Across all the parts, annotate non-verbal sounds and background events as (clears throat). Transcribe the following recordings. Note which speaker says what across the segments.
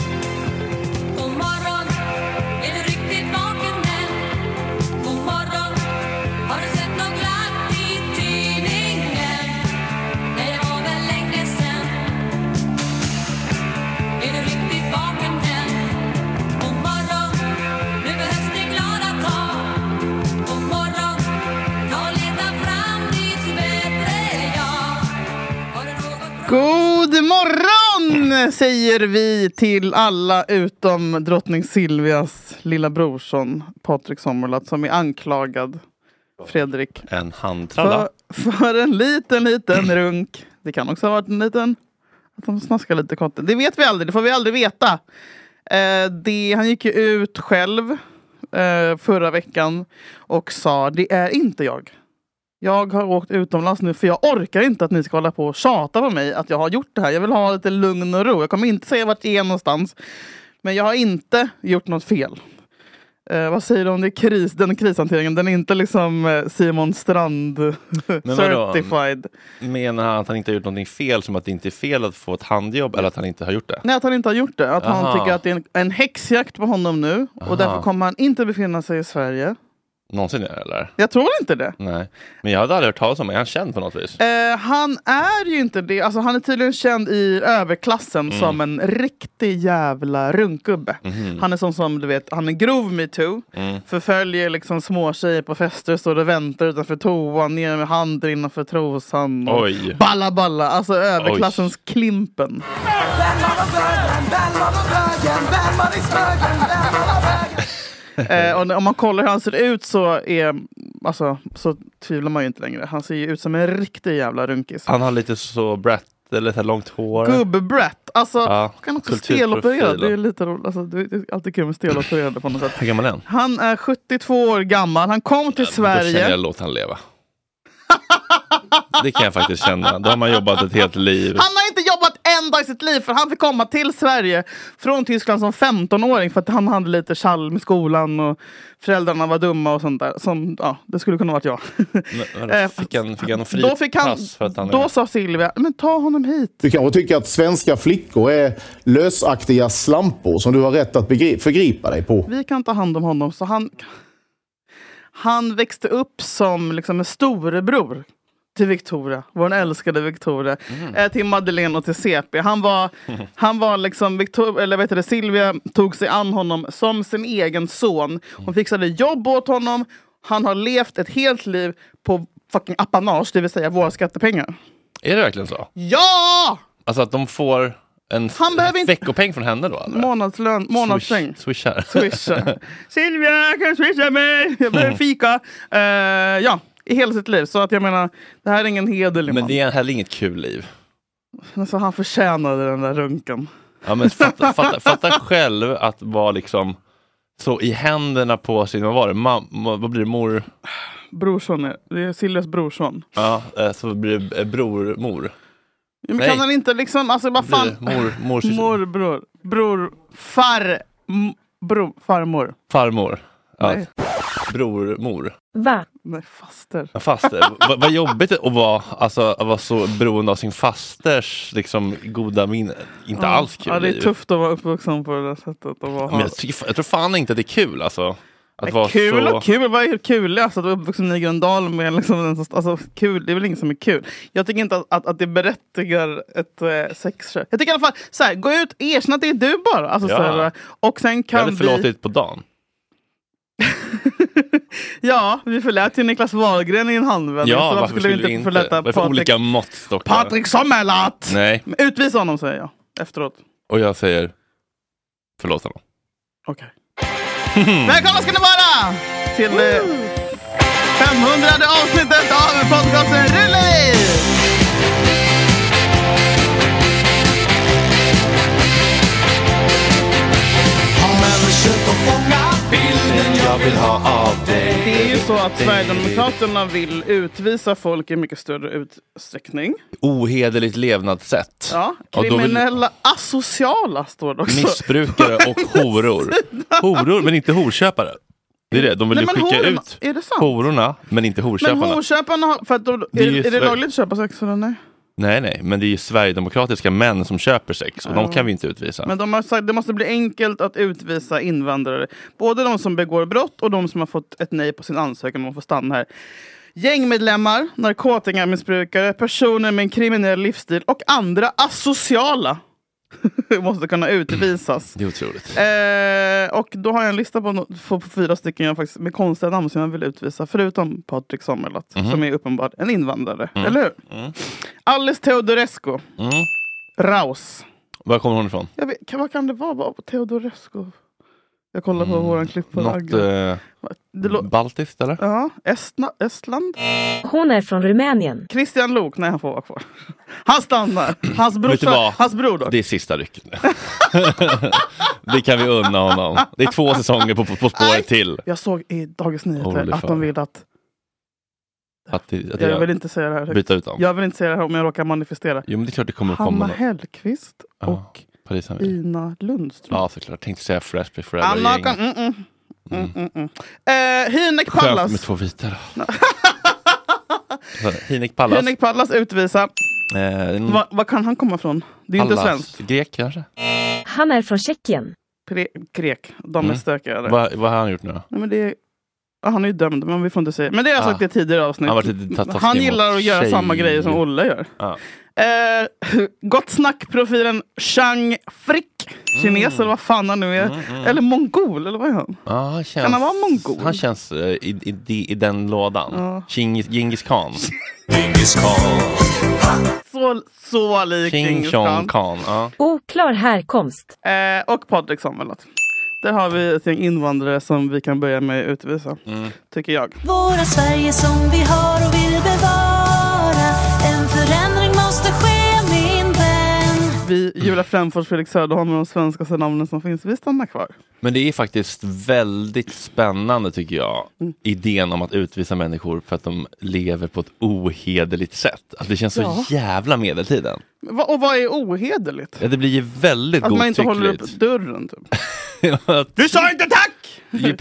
Speaker 1: God morgon, är du riktigt vaken än? God morgon, har du sett något glatt i tidningen? Nej, det var väl länge sen. Är du riktigt vaken än? God morgon, nu behövs det glada tag. God morgon, ta och leta fram ditt bättre jag. Har du något bra?
Speaker 2: God morgon säger vi till alla utom drottning Silvias lilla brorson Patrik Sommerlath som är anklagad, Fredrik,
Speaker 3: En handtralla.
Speaker 2: för, för en liten, liten runk. Det kan också ha varit en liten, att de snaskar lite kotten. Det vet vi aldrig, det får vi aldrig veta. Eh, det, han gick ju ut själv eh, förra veckan och sa det är inte jag. Jag har åkt utomlands nu för jag orkar inte att ni ska hålla på och tjata på mig att jag har gjort det här. Jag vill ha lite lugn och ro. Jag kommer inte säga vart jag är någonstans. Men jag har inte gjort något fel. Eh, vad säger du om det kris, den krishanteringen? Den är inte liksom eh, Simon
Speaker 3: (laughs)
Speaker 2: Strand
Speaker 3: vadå?
Speaker 2: certified.
Speaker 3: Menar han att han inte har gjort någonting fel, som att det inte är fel att få ett handjobb eller att han inte har gjort det?
Speaker 2: Nej, att han inte har gjort det. Att han
Speaker 3: Aha.
Speaker 2: tycker att det är en, en häxjakt på honom nu. Och
Speaker 3: Aha.
Speaker 2: därför kommer han inte befinna sig i Sverige.
Speaker 3: Någonsin eller?
Speaker 2: Jag tror inte det.
Speaker 3: Nej. Men jag hade aldrig hört talas om honom. Är han känd på något vis?
Speaker 2: Eh, han är ju inte det. Alltså, han är tydligen känd i överklassen som en riktig jävla runkgubbe. Han är sån som, du vet, han är grov metoo. Förföljer liksom småtjejer på fester, står och väntar utanför toan, ner med handen innanför trosan. Och
Speaker 3: Oj.
Speaker 2: Balla balla, alltså överklassens Klimpen. Eh, och om man kollar hur han ser ut så, är, alltså, så tvivlar man ju inte längre. Han ser ju ut som en riktig jävla runkis.
Speaker 3: Han har lite så brett, eller så här långt hår.
Speaker 2: Gubb-Brett. Alltså,
Speaker 3: Ja,
Speaker 2: han kan också
Speaker 3: kulturprofilen.
Speaker 2: steloperera. Det är lite roligt. Alltså, det är alltid kul med stelopererade på något sätt.
Speaker 3: Hur gammal är han?
Speaker 2: Han är 72 år gammal. Han kom till
Speaker 3: Då känner
Speaker 2: Sverige.
Speaker 3: jag, låt han leva. Det kan jag faktiskt känna. Då har man jobbat ett helt liv.
Speaker 2: Han har inte jobbat en dag i sitt liv för han fick komma till Sverige från Tyskland som 15-åring för att han hade lite tjall med skolan och föräldrarna var dumma och sånt där. Som, ja, det skulle kunna varit jag.
Speaker 3: Men vadå,
Speaker 2: Eh,
Speaker 3: Fick han, fick han
Speaker 2: (laughs) Då, fick han,
Speaker 3: fripass för att han...
Speaker 2: då sa Silvia, men ta honom hit.
Speaker 4: Du kanske tycker att svenska flickor är lösaktiga slampor som du har rätt att begri- förgripa dig på.
Speaker 2: Vi kan ta hand om honom. Så han, han växte upp som liksom en storebror till Victoria, vår älskade Victoria, eh, till Madeleine och till CP. Han var, han var liksom, Victor, eller vet du, det, Silvia tog sig an honom som sin egen son. Hon fixade jobb åt honom. Han har levt ett helt liv på fucking apanage, det vill säga våra skattepengar.
Speaker 3: Är det verkligen så?
Speaker 2: Ja!
Speaker 3: Alltså att de får en
Speaker 2: Han behöver inte-
Speaker 3: veckopeng från henne då? Eller?
Speaker 2: Månadslön, månadspeng.
Speaker 3: Swish- Swishar.
Speaker 2: swisha. (laughs) Silvia, kan du swisha mig? Jag
Speaker 3: (laughs)
Speaker 2: behöver fika. Eh, ja, i hela sitt liv. Så att jag menar, det här är ingen hederlig
Speaker 3: Men
Speaker 2: man.
Speaker 3: det är heller inget kul liv.
Speaker 2: Alltså, han förtjänade den där runken.
Speaker 3: Ja, men fatta, fatta, fatta själv att vara liksom så i händerna på sin, vad var det, mamma, vad blir det, mor?
Speaker 2: Brorson är, det är Silvias brorson.
Speaker 3: Ja, eh, så blir det eh, bror, mor.
Speaker 2: Ja, Men
Speaker 3: Nej.
Speaker 2: kan han inte liksom, alltså vad
Speaker 3: Blir
Speaker 2: fan.
Speaker 3: det mor,
Speaker 2: (laughs)
Speaker 3: mor,
Speaker 2: Morbror, bror, far, m, bro, farmor.
Speaker 3: farmor. Ja.
Speaker 2: Nej.
Speaker 3: Bror, mor.
Speaker 5: Va?
Speaker 2: Nej, faster.
Speaker 3: Faster. vad, vad jobbigt att vara, alltså, att vara så beroende av sin fasters liksom, goda minne. Inte alls kul.
Speaker 2: Ja, det
Speaker 3: i-
Speaker 2: är tufft att vara uppvuxen på det där sättet. Och
Speaker 3: Men
Speaker 2: vara,
Speaker 3: jag, tycker- jag tror fan inte att det är kul alltså. Att
Speaker 2: Men
Speaker 3: vara
Speaker 2: kul
Speaker 3: så...
Speaker 2: och kul, vad är kuligast? Att vara uppvuxen i Gröndal med liksom den som, alltså, kul, det är väl inget som är kul. Jag tycker inte att, att, att det berättigar ett eh, sexköp. Jag tycker i alla fall, så här, gå ut, erkänn att det är du bara. Alltså,
Speaker 3: Ja.
Speaker 2: så här, och sen
Speaker 3: Jag
Speaker 2: kan
Speaker 3: hade förlåtit
Speaker 2: vi...
Speaker 3: på dagen.
Speaker 2: ja, vi förlät ju Niklas Wahlgren i en handvändning.
Speaker 3: Ja,
Speaker 2: så
Speaker 3: varför skulle vi
Speaker 2: vi
Speaker 3: inte?
Speaker 2: förlåta
Speaker 3: Varför
Speaker 2: Patrik,
Speaker 3: olika måttstockar?
Speaker 2: Patrik Sommerlath?
Speaker 3: Nej,
Speaker 2: Men Utvisa honom säger jag, efteråt.
Speaker 3: och jag säger förlåt honom.
Speaker 2: Okej.
Speaker 3: (laughs)
Speaker 2: Välkomna ska ni vara till eh, 500 avsnittet av podcasten Rulli! Det är ju så att Sverigedemokraterna vill utvisa folk i mycket större utsträckning.
Speaker 3: Ohederligt levnadssätt.
Speaker 2: Ja,
Speaker 3: då vill-
Speaker 2: kriminella, asociala står det också. (laughs)
Speaker 3: Missbrukare och horor. Horor, men inte horköpare. Det är det, de vill ju
Speaker 2: Nej, men
Speaker 3: skicka
Speaker 2: hororna-
Speaker 3: ut
Speaker 2: är det sant?
Speaker 3: hororna, men inte
Speaker 2: Men
Speaker 3: horköparna.
Speaker 2: horköparna, har, för att då,
Speaker 3: Det är
Speaker 2: är,
Speaker 3: ju
Speaker 2: är, det
Speaker 3: Sverige-
Speaker 2: lagligt att köpa sex eller nej?
Speaker 3: Nej, nej, men det är ju sverigedemokratiska män som köper sex och de kan vi inte utvisa.
Speaker 2: Men de har sagt det måste bli enkelt att utvisa invandrare. Både de som begår brott och de som har fått ett nej på sin ansökan om att få stanna här. Gängmedlemmar, narkotikamissbrukare, personer med en kriminell livsstil och andra asociala (laughs) måste kunna utvisas.
Speaker 3: Det är otroligt.
Speaker 2: Eh, och då har jag en lista på, no- på, på fyra stycken jag faktiskt, med konstiga namn som jag vill utvisa. Förutom Patrik Samuelat,
Speaker 3: Mhm.
Speaker 2: som är uppenbart en invandrare.
Speaker 3: Mm.
Speaker 2: Eller hur? Alice Teodorescu. Raus.
Speaker 3: Var kommer hon ifrån?
Speaker 2: Jag vet, kan, vad kan det vara? Vad- Teodorescu? Jag kollar på våran klippare.
Speaker 3: Mm. Något eh,
Speaker 2: Det lå-
Speaker 3: baltiskt eller?
Speaker 2: ja, Estna, Estland?
Speaker 5: Hon är från Rumänien.
Speaker 2: Christian Lok, nej han får vara kvar. (laughs) Han stannar. Hans
Speaker 3: Vet du
Speaker 2: brorsa,
Speaker 3: vad?
Speaker 2: hans bror dock.
Speaker 3: Det är sista rycket nu. (laughs) det kan vi unna honom. Det är två säsonger på På, på spåret till.
Speaker 2: Jag såg i Dagens Nyheter
Speaker 3: Holy
Speaker 2: att
Speaker 3: fan.
Speaker 2: de vill att...
Speaker 3: Att, det- att
Speaker 2: Jag vill
Speaker 3: jag
Speaker 2: inte säga det här högt.
Speaker 3: byta ut dem.
Speaker 2: Jag vill inte säga det här om jag råkar manifestera.
Speaker 3: Jo men det är klart det kommer att komma
Speaker 2: Hanna
Speaker 3: någon.
Speaker 2: Hellquist
Speaker 3: Ja.
Speaker 2: och
Speaker 3: Paris Saint-Germain.
Speaker 2: Ina Lundström.
Speaker 3: Ja såklart, tänkte säga Fresh Be
Speaker 2: Anna
Speaker 3: Forever-gäng.
Speaker 2: kan... Mm, mm. Mm, mm, mm. Eh, Hynek Pallas.
Speaker 3: Skönt med två vita
Speaker 2: (laughs)
Speaker 3: då. Så, Hinek Pallas.
Speaker 2: Hynek Pallas utvisa.
Speaker 3: Eh, en-
Speaker 2: Va- Var kan han komma ifrån? Det är ju inte
Speaker 3: Pallas.
Speaker 2: svenskt.
Speaker 3: Grek kanske?
Speaker 5: Han är från Tjeckien.
Speaker 2: Pre- grek. De är
Speaker 3: Mm.
Speaker 2: stökigare.
Speaker 3: Vad vad har han gjort nu då?
Speaker 2: Nej, men det är... ja, han är ju dömd, men vi får inte säga. Men det har jag sagt
Speaker 3: Ah.
Speaker 2: i tidigare avsnitt.
Speaker 3: Han har varit lite taskig
Speaker 2: Han
Speaker 3: mot
Speaker 2: gillar att göra
Speaker 3: tjejer.
Speaker 2: samma grejer som Olle gör.
Speaker 3: Ja.
Speaker 2: Eh, (laughs) gott snack-profilen Chang Frick.
Speaker 3: Mm.
Speaker 2: Kines eller vad fan han nu är. Eller mongol, eller vad är han?
Speaker 3: Ja, han känns,
Speaker 2: han vara mongol?
Speaker 3: Han känns eh, i, i, i, i den lådan.
Speaker 2: Ja.
Speaker 3: Chingis,
Speaker 2: (laughs)
Speaker 3: Genghis khan.
Speaker 2: Så, så lik
Speaker 3: King
Speaker 2: Djingis
Speaker 3: Chong
Speaker 2: khan.
Speaker 3: khan. Ja.
Speaker 5: Oklar härkomst.
Speaker 2: Eh, och Patrik Samuelat. Där har vi ett gäng invandrare som vi kan börja med att utvisa.
Speaker 3: Mm.
Speaker 2: Tycker jag.
Speaker 1: Våra Sverige som vi har och vill bevara En förändring måste ske min vän
Speaker 2: Vi, Julia Fränfors, Felix Söderholm och de svenskaste namnen som finns, vi stannar kvar.
Speaker 3: Men det är faktiskt väldigt spännande tycker jag. Idén om att utvisa människor för att de lever på ett ohederligt sätt. Att det känns
Speaker 2: Ja.
Speaker 3: så jävla medeltiden.
Speaker 2: Va, och vad är ohederligt?
Speaker 3: Ja, det blir ju väldigt
Speaker 2: Att man inte håller
Speaker 3: godtyckligt.
Speaker 2: upp dörren
Speaker 3: (laughs)
Speaker 2: typ.
Speaker 3: Att-
Speaker 2: Du sa inte tack!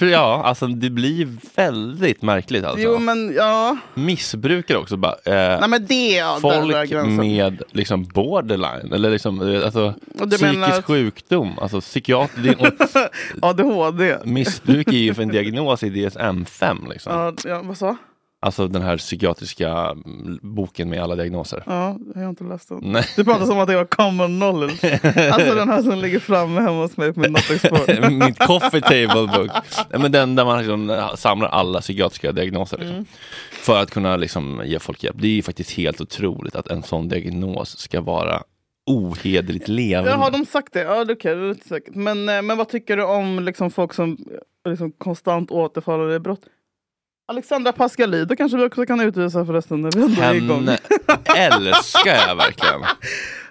Speaker 3: ja, alltså det blir väldigt märkligt alltså.
Speaker 2: (laughs) Jo men ja.
Speaker 3: Missbrukare också bara. Eh,
Speaker 2: Nej men det är där drar
Speaker 3: folk
Speaker 2: gränsen.
Speaker 3: med liksom borderline eller liksom, eh, alltså,
Speaker 2: du
Speaker 3: psykisk
Speaker 2: menar att-
Speaker 3: sjukdom, alltså psykiatri. det är-
Speaker 2: (laughs)
Speaker 3: (laughs)
Speaker 2: ADHD.
Speaker 3: Missbruk är ju för en diagnos i DSM-5 liksom.
Speaker 2: Ja, ja, vad sa?
Speaker 3: Alltså den här psykiatriska mm, boken med alla diagnoser.
Speaker 2: Ja, jag har inte läst den.
Speaker 3: Nej.
Speaker 2: Du pratar som att det var common
Speaker 3: (laughs)
Speaker 2: knowledge. Alltså den här som ligger framme hemma hos mig på min nattduksbord.
Speaker 3: (laughs) Mitt coffee table book. Nej, men den där man liksom samlar alla psykiatriska diagnoser. Liksom.
Speaker 2: Mm.
Speaker 3: För att kunna liksom ge folk hjälp. Det är ju faktiskt helt otroligt att en sån diagnos ska vara ohederligt levande.
Speaker 2: Ja, har de sagt det? Ja, det okej, det är inte säkert. Men, eh, men vad tycker du om liksom, folk som eh, liksom, konstant återfaller i brott? Alexandra Pascalidou kanske vi också kan utvisa förresten. När vi ändå är igång.
Speaker 3: Henne (laughs) älskar jag verkligen.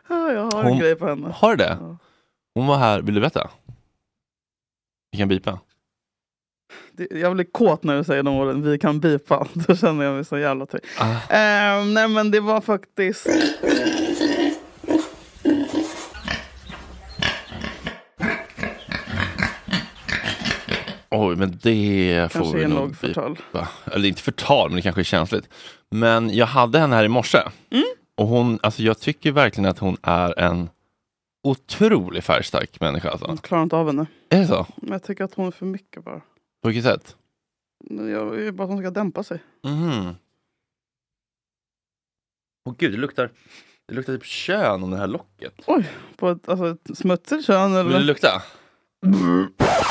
Speaker 2: Ja, jag har
Speaker 3: Hon-
Speaker 2: en grej på henne.
Speaker 3: Har du det?
Speaker 2: Ja.
Speaker 3: Hon var här, vill du berätta? Vi kan bipa.
Speaker 2: Det- Jag blir kåt när du säger de orden, vi kan bipa. (laughs) Då känner jag mig så jävla trygg.
Speaker 3: Ah.
Speaker 2: Eh, nej men det var faktiskt...
Speaker 3: Åh, Oj, men det får
Speaker 2: Kanske
Speaker 3: vi
Speaker 2: är
Speaker 3: nog
Speaker 2: nog förtal.
Speaker 3: bipa. Eller inte förtal, men det kanske är känsligt. Men jag hade henne här i morse. Och hon, alltså jag tycker verkligen att hon är en otrolig färgstark människa. Alltså.
Speaker 2: Jag klarar inte av henne.
Speaker 3: Är det så?
Speaker 2: Men jag tycker att hon är för mycket bara.
Speaker 3: På vilket sätt?
Speaker 2: Jag vill bara att hon ska dämpa sig.
Speaker 3: Mhm. Åh gud, det luktar, det luktar typ kön om det här locket.
Speaker 2: Oj, på ett, alltså, ett smutsigt kön
Speaker 3: Vill du
Speaker 2: eller?
Speaker 3: lukta? (laughs)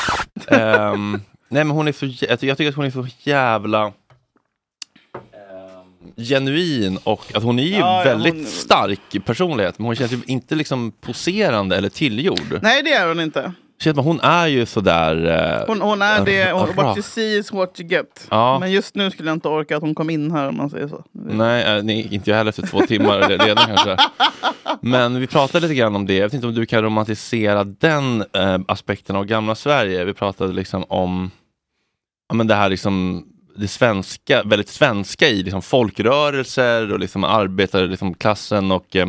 Speaker 3: Ehm, nej men hon är så, jä- jag tycker- jag tycker att hon är så jävla ehm, genuin och att hon är ju
Speaker 2: Ja, ja,
Speaker 3: väldigt
Speaker 2: hon-
Speaker 3: stark personlighet men hon känns ju inte liksom poserande eller tillgjord.
Speaker 2: Nej det är hon inte.
Speaker 3: Känns som att hon är ju sådär... eh,
Speaker 2: Hon, hon är det, hon,
Speaker 3: ra-
Speaker 2: what you see is what you get.
Speaker 3: Ja.
Speaker 2: Men just nu skulle jag inte orka att hon kom in här om man säger så.
Speaker 3: Nej, eh, nej, inte jag heller efter två timmar re- redan kanske. Men vi pratade lite grann om det. Jag vet inte om du kan romantisera den eh, aspekten av gamla Sverige. Vi pratade liksom om ja, men det här liksom det svenska, väldigt svenska i liksom folkrörelser och liksom arbetarklassen liksom klassen och eh,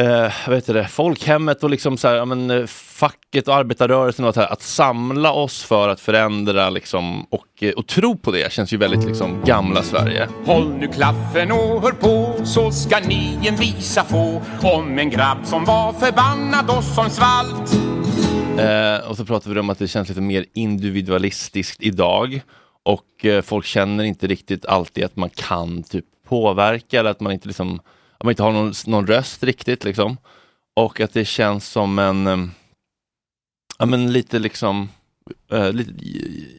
Speaker 3: eh, vad heter det, folkhemmet och liksom så här, ja, men, eh, facket och arbetarrörelsen. Och allt det här, att samla oss för att förändra liksom, och, eh, och tro på det känns ju väldigt liksom, gamla Sverige.
Speaker 6: Håll nu klaffen och hör på så ska ni en visa få om en grabb som var förbannad och som svalt.
Speaker 3: Eh, och så pratar vi om att det känns lite mer individualistiskt idag. Och eh, folk känner inte riktigt alltid att man kan typ påverka eller att man inte, liksom, att man inte har någon, någon röst riktigt. Liksom. Och att det känns som en, eh, ja men lite liksom, eh, lite,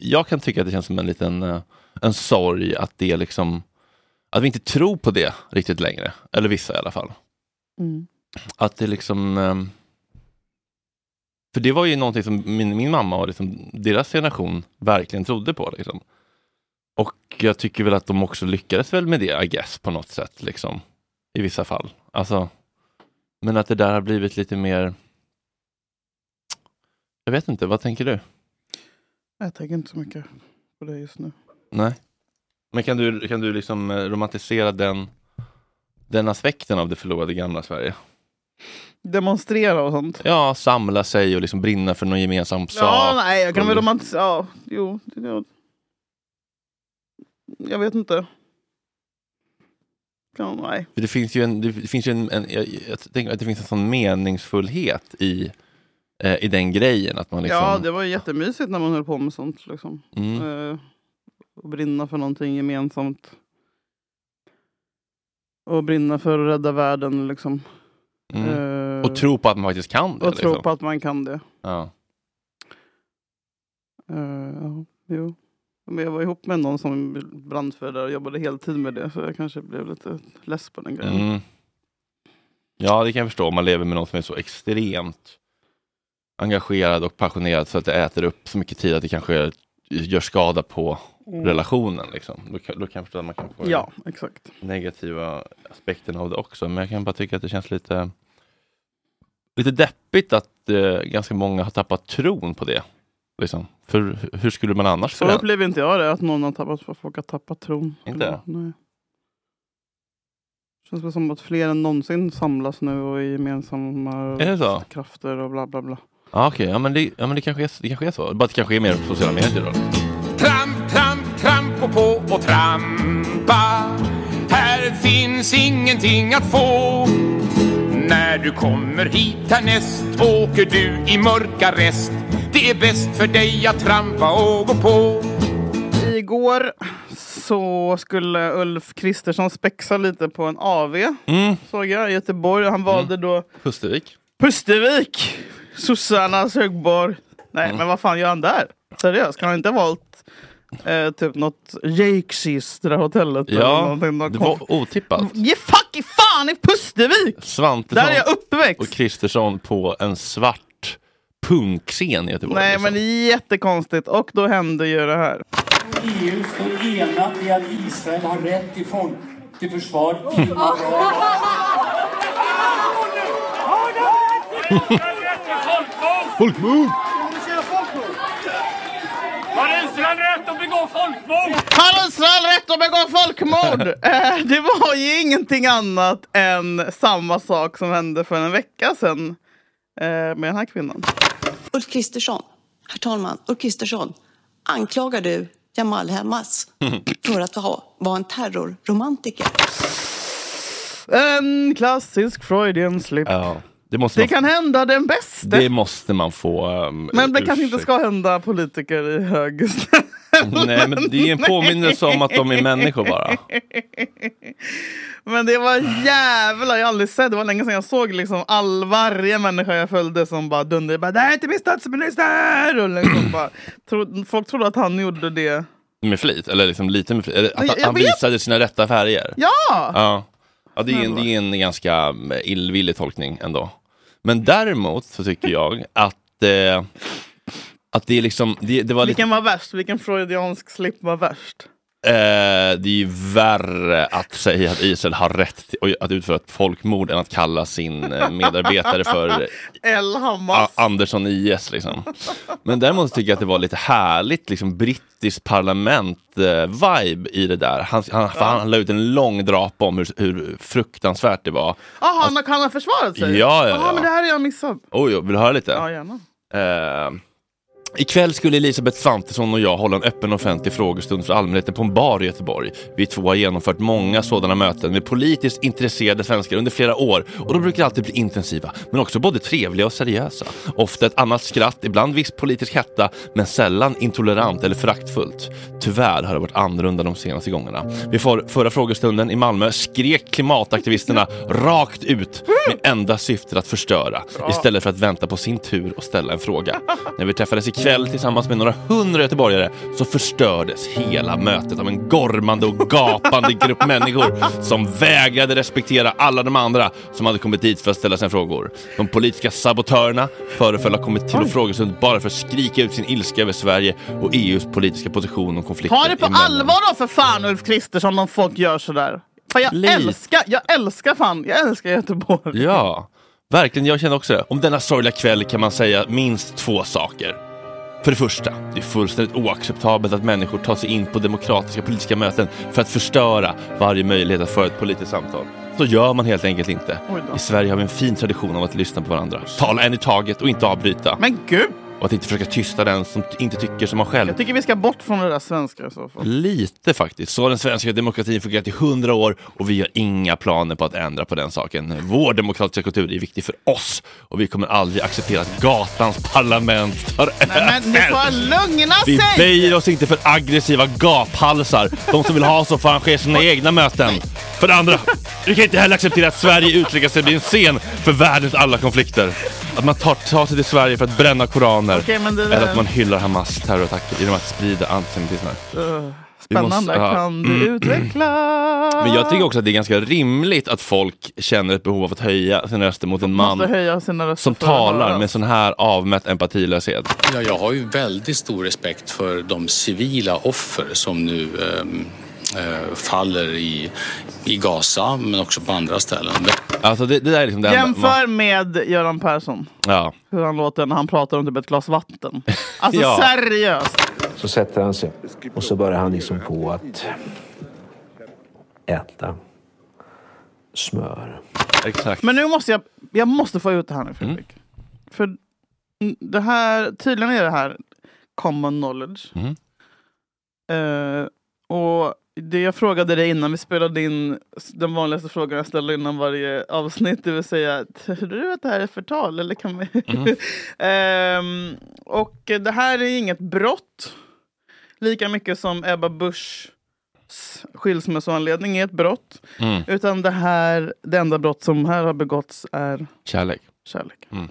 Speaker 3: jag kan tycka att det känns som en liten eh, en sorg att det liksom, att vi inte tror på det riktigt längre. Eller vissa i alla fall
Speaker 2: Mm.
Speaker 3: att det liksom... ehm, För det var ju någonting som min, min mamma och liksom deras generation verkligen trodde på. Liksom. Och jag tycker väl att de också lyckades väl med det, I guess, på något sätt. Liksom, I vissa fall. Alltså, men att det där har blivit lite mer... Jag vet inte, vad tänker du?
Speaker 2: Jag tänker inte så mycket på det just nu.
Speaker 3: Nej. Men kan du, kan du liksom eh, romantisera den, den aspekten av det förlorade gamla Sverige?
Speaker 2: Demonstrera och sånt.
Speaker 3: Ja, samla sig och liksom brinna för någon gemensam sak.
Speaker 2: Ja, nej, jag kan väl
Speaker 3: och-
Speaker 2: romantisera. Ja, jo. det- Ja. Jag vet inte. Ja, nej.
Speaker 3: För det finns ju en, det finns ju en, en jag, jag tänker att det finns en sån meningsfullhet i, eh, i den grejen. Att man liksom,
Speaker 2: Ja, det var ju jättemysigt när man höll på med sånt. Liksom.
Speaker 3: mm,
Speaker 2: Eh, och brinna för någonting gemensamt. Och brinna för att rädda världen. Liksom.
Speaker 3: mm.
Speaker 2: Eh,
Speaker 3: Och tro på att man faktiskt kan det.
Speaker 2: och tro
Speaker 3: liksom.
Speaker 2: på att man kan det.
Speaker 3: ja.
Speaker 2: Eh, ja, jo. Men jag var ihop med någon som brann för det där och jobbade heltid med det. Så jag kanske blev lite less på den grejen.
Speaker 3: Mm. ja, det kan jag förstå. Om man lever med någon som är så extremt engagerad och passionerad så att det äter upp så mycket tid att det kanske gör skada på relationen. Liksom. Då, kan, då kan jag förstå att man kan få
Speaker 2: Mm. Ja, exakt.
Speaker 3: negativa aspekten av det också. Men jag kan bara tycka att det känns lite, lite deppigt att eh, ganska många har tappat tron på det. Liksom. För hu- hur skulle man annars
Speaker 2: Så
Speaker 3: förändra?
Speaker 2: upplever inte jag det, att någon har tappat, folk har tappat tron.
Speaker 3: Inte?
Speaker 2: Eller, Nej. Känns det som att fler än någonsin samlas nu och är gemensamma
Speaker 3: Är det så?
Speaker 2: krafter och bla bla bla.
Speaker 3: Ja, okej. Ja, men, det, ja, men det, kanske är, det kanske är så. Bara att det kanske är mer på sociala medier då.
Speaker 6: Tramp, tramp, tramp och på och trampa. Här finns ingenting att få. När du kommer hit härnäst åker du i mörka rest. Det är bäst för dig att trampa och gå på.
Speaker 2: Igår så skulle Ulf Kristersson spexa lite på en AV
Speaker 3: Mm.
Speaker 2: såg jag i Göteborg. Han valde då
Speaker 3: Pustervik.
Speaker 2: Pustervik, sossarnas högborg. Nej,
Speaker 3: Mm.
Speaker 2: men vad fan gör han där? Seriöst, kan han inte ha valt eh, typ något Jakesys, det där hotellet? eller
Speaker 3: Ja,
Speaker 2: någonting, någon
Speaker 3: det
Speaker 2: konf-
Speaker 3: var otippat.
Speaker 2: Ge fuck i fan i Pustervik! Där är jag
Speaker 3: Svantesson och
Speaker 2: uppväxt!
Speaker 3: Kristersson på en svart punkscen i Göteborg.
Speaker 2: Nej,
Speaker 3: liksom.
Speaker 2: men det är jättekonstigt. Och då hände ju det här.
Speaker 7: EU E står enat i att Israel har rätt till folk till försvar.
Speaker 3: Folkmord!
Speaker 2: Har Israel rätt att begå
Speaker 3: (laughs)
Speaker 2: folkmord? eh, det var ju ingenting annat än samma sak som hände för en vecka sedan eh, med den här kvinnan.
Speaker 8: Ulf Kristersson. Herr talman, Ulf Kristersson. anklagar du Jamal Hamas för att ha, vara en terrorromantiker.
Speaker 2: En klassisk Freudian slip.
Speaker 3: Ja, det, måste
Speaker 2: Det
Speaker 3: man,
Speaker 2: kan hända den bästa.
Speaker 3: det måste man få ehm,
Speaker 2: men det kanske inte
Speaker 3: ursäkta.
Speaker 2: ska hända politiker i hög
Speaker 3: (laughs)
Speaker 2: (laughs)
Speaker 3: Nej, men det är en påminnelse om att de är människor bara.
Speaker 2: Men det var jävlar, jag har aldrig sett, det var länge sedan jag såg liksom all, varje människa jag följde som bara dundrade bara, det här är inte min statsminister! Och liksom bara, tro, folk trodde att han gjorde det.
Speaker 3: Med flit, eller liksom lite med flit. Eller
Speaker 2: Men
Speaker 3: att
Speaker 2: jag- jag
Speaker 3: han
Speaker 2: vet-
Speaker 3: visade sina rätta färger.
Speaker 2: Ja!
Speaker 3: Ja, ja det, är en, det är en ganska mm, illvillig tolkning ändå. Men däremot så tycker jag att, eh, att det är liksom, det, det var lite,
Speaker 2: Vilken var värst? Vilken freudiansk slip var värst?
Speaker 3: eh, det är ju värre att säga att Israel har rätt till, och att utföra ett folkmord än att kalla sin eh, medarbetare för
Speaker 2: El
Speaker 3: A-
Speaker 2: Hamas.
Speaker 3: Andersson IS liksom. Men däremot tycker jag att det var lite härligt liksom brittiskt parlament-vibe i det där. Han, han, för han la ut en lång drapa om hur, hur fruktansvärt det var.
Speaker 2: Jaha, Ah, han, han har försvarat sig?
Speaker 3: Ja, ja,
Speaker 2: Aha,
Speaker 3: ja.
Speaker 2: men det här har jag missat.
Speaker 3: Oj, vill du höra lite?
Speaker 2: Ja, gärna.
Speaker 3: Eh, ikväll skulle Elisabeth Svantesson och jag hålla en öppen offentlig frågestund för allmänheten på en bar i Göteborg. Vi två har genomfört många sådana möten med politiskt intresserade svenskar under flera år och de brukar alltid bli intensiva, men också både trevliga och seriösa. Ofta ett annat skratt, ibland viss politisk hetta, men sällan intolerant eller föraktfullt. Tyvärr har det varit annorlunda de senaste gångerna. Vid för, förra frågestunden i Malmö skrek klimataktivisterna rakt ut med enda syftet att förstöra istället för att vänta på sin tur och ställa en fråga. När vi träffades ikväll tillsammans med några hundra göteborgare så förstördes hela mötet av en gormande och gapande
Speaker 2: (laughs)
Speaker 3: grupp människor som vägrade respektera alla de andra som hade kommit dit för att ställa sina frågor. De politiska sabotörerna föreföll ha kommit till och frågestund bara för att skrika ut sin ilska över Sverige och EUs politiska position och konflikten
Speaker 2: Ta det på
Speaker 3: emellan.
Speaker 2: allvar då för fan Ulf Kristersson om folk gör sådär. Fan, jag
Speaker 3: Lite.
Speaker 2: älskar, jag älskar fan, jag älskar Göteborg.
Speaker 3: Ja, verkligen. Jag känner också det. Om denna sorgliga kväll kan man säga minst två saker. För det första, det är fullständigt oacceptabelt att människor tar sig in på demokratiska politiska möten för att förstöra varje möjlighet att föra ett politiskt samtal. Så gör man helt enkelt inte.
Speaker 2: Oj då.
Speaker 3: I Sverige har vi en fin tradition av att lyssna på varandra, tala en i taget och inte avbryta.
Speaker 2: Men gud,
Speaker 3: Och att inte försöka tysta den som t- inte tycker som man själv.
Speaker 2: jag tycker vi ska bort från det där svenska i så fall.
Speaker 3: Lite faktiskt. Så har den svenska demokratin fungerat i hundra år och vi har inga planer på att ändra på den saken. Vår demokratiska kultur är viktig för oss och vi kommer aldrig acceptera att gatans parlament tar
Speaker 2: Nej, men ni får lugna
Speaker 3: Vi
Speaker 2: sig!
Speaker 3: böjer oss inte för aggressiva gaphalsar. De som vill ha så får arrangera sina egna möten. För det andra, vi kan inte heller acceptera att Sverige utvecklar sig och blir en scen för världens alla konflikter. Att man tar, tar sig till Sverige för att bränna koraner.
Speaker 2: Okej, men det där-
Speaker 3: Eller att man hyllar Hamas terrorattacker genom att sprida antisemitism. vi måste-
Speaker 2: Spännande,
Speaker 3: ja. Mm,
Speaker 2: kan du utveckla?
Speaker 3: Men jag tycker också att det är ganska rimligt att folk känner ett behov av att höja sin röster mot en
Speaker 2: Måste
Speaker 3: man
Speaker 2: höja sina röster
Speaker 3: som
Speaker 2: för att
Speaker 3: talar
Speaker 2: höras.
Speaker 3: med sån här avmätt empatilöshet.
Speaker 6: Ja, jag har ju väldigt stor respekt för de civila offer som nu ehm, eh, faller i, i Gaza, men också på andra ställen.
Speaker 3: Alltså det, det där är liksom det enda-
Speaker 2: Jämför med Göran Persson,
Speaker 3: Ja.
Speaker 2: hur han låter när han pratar om typ ett glas vatten. Alltså
Speaker 3: (laughs) Ja.
Speaker 2: seriöst!
Speaker 9: Så sätter han sig och så börjar han liksom på att äta smör.
Speaker 3: Exakt.
Speaker 2: Men nu måste jag, jag måste få ut det här nu Fredrik. För mm, det här, tydligen är det här common knowledge.
Speaker 3: Mm.
Speaker 2: Eh, och det jag frågade dig innan vi spelade in s- den vanligaste frågan jag ställer innan varje avsnitt, det vill säga tror du att det här är förtal? Eller kan vi...
Speaker 3: Mm.
Speaker 2: (laughs) Ehm, och det här är inget brott. Lika mycket som Ebba Buschs skilsmässoanledning är ett brott.
Speaker 3: Mm.
Speaker 2: Utan det här, det enda brott som här har begåtts är
Speaker 3: Kärlek.
Speaker 2: kärlek.
Speaker 3: Mm.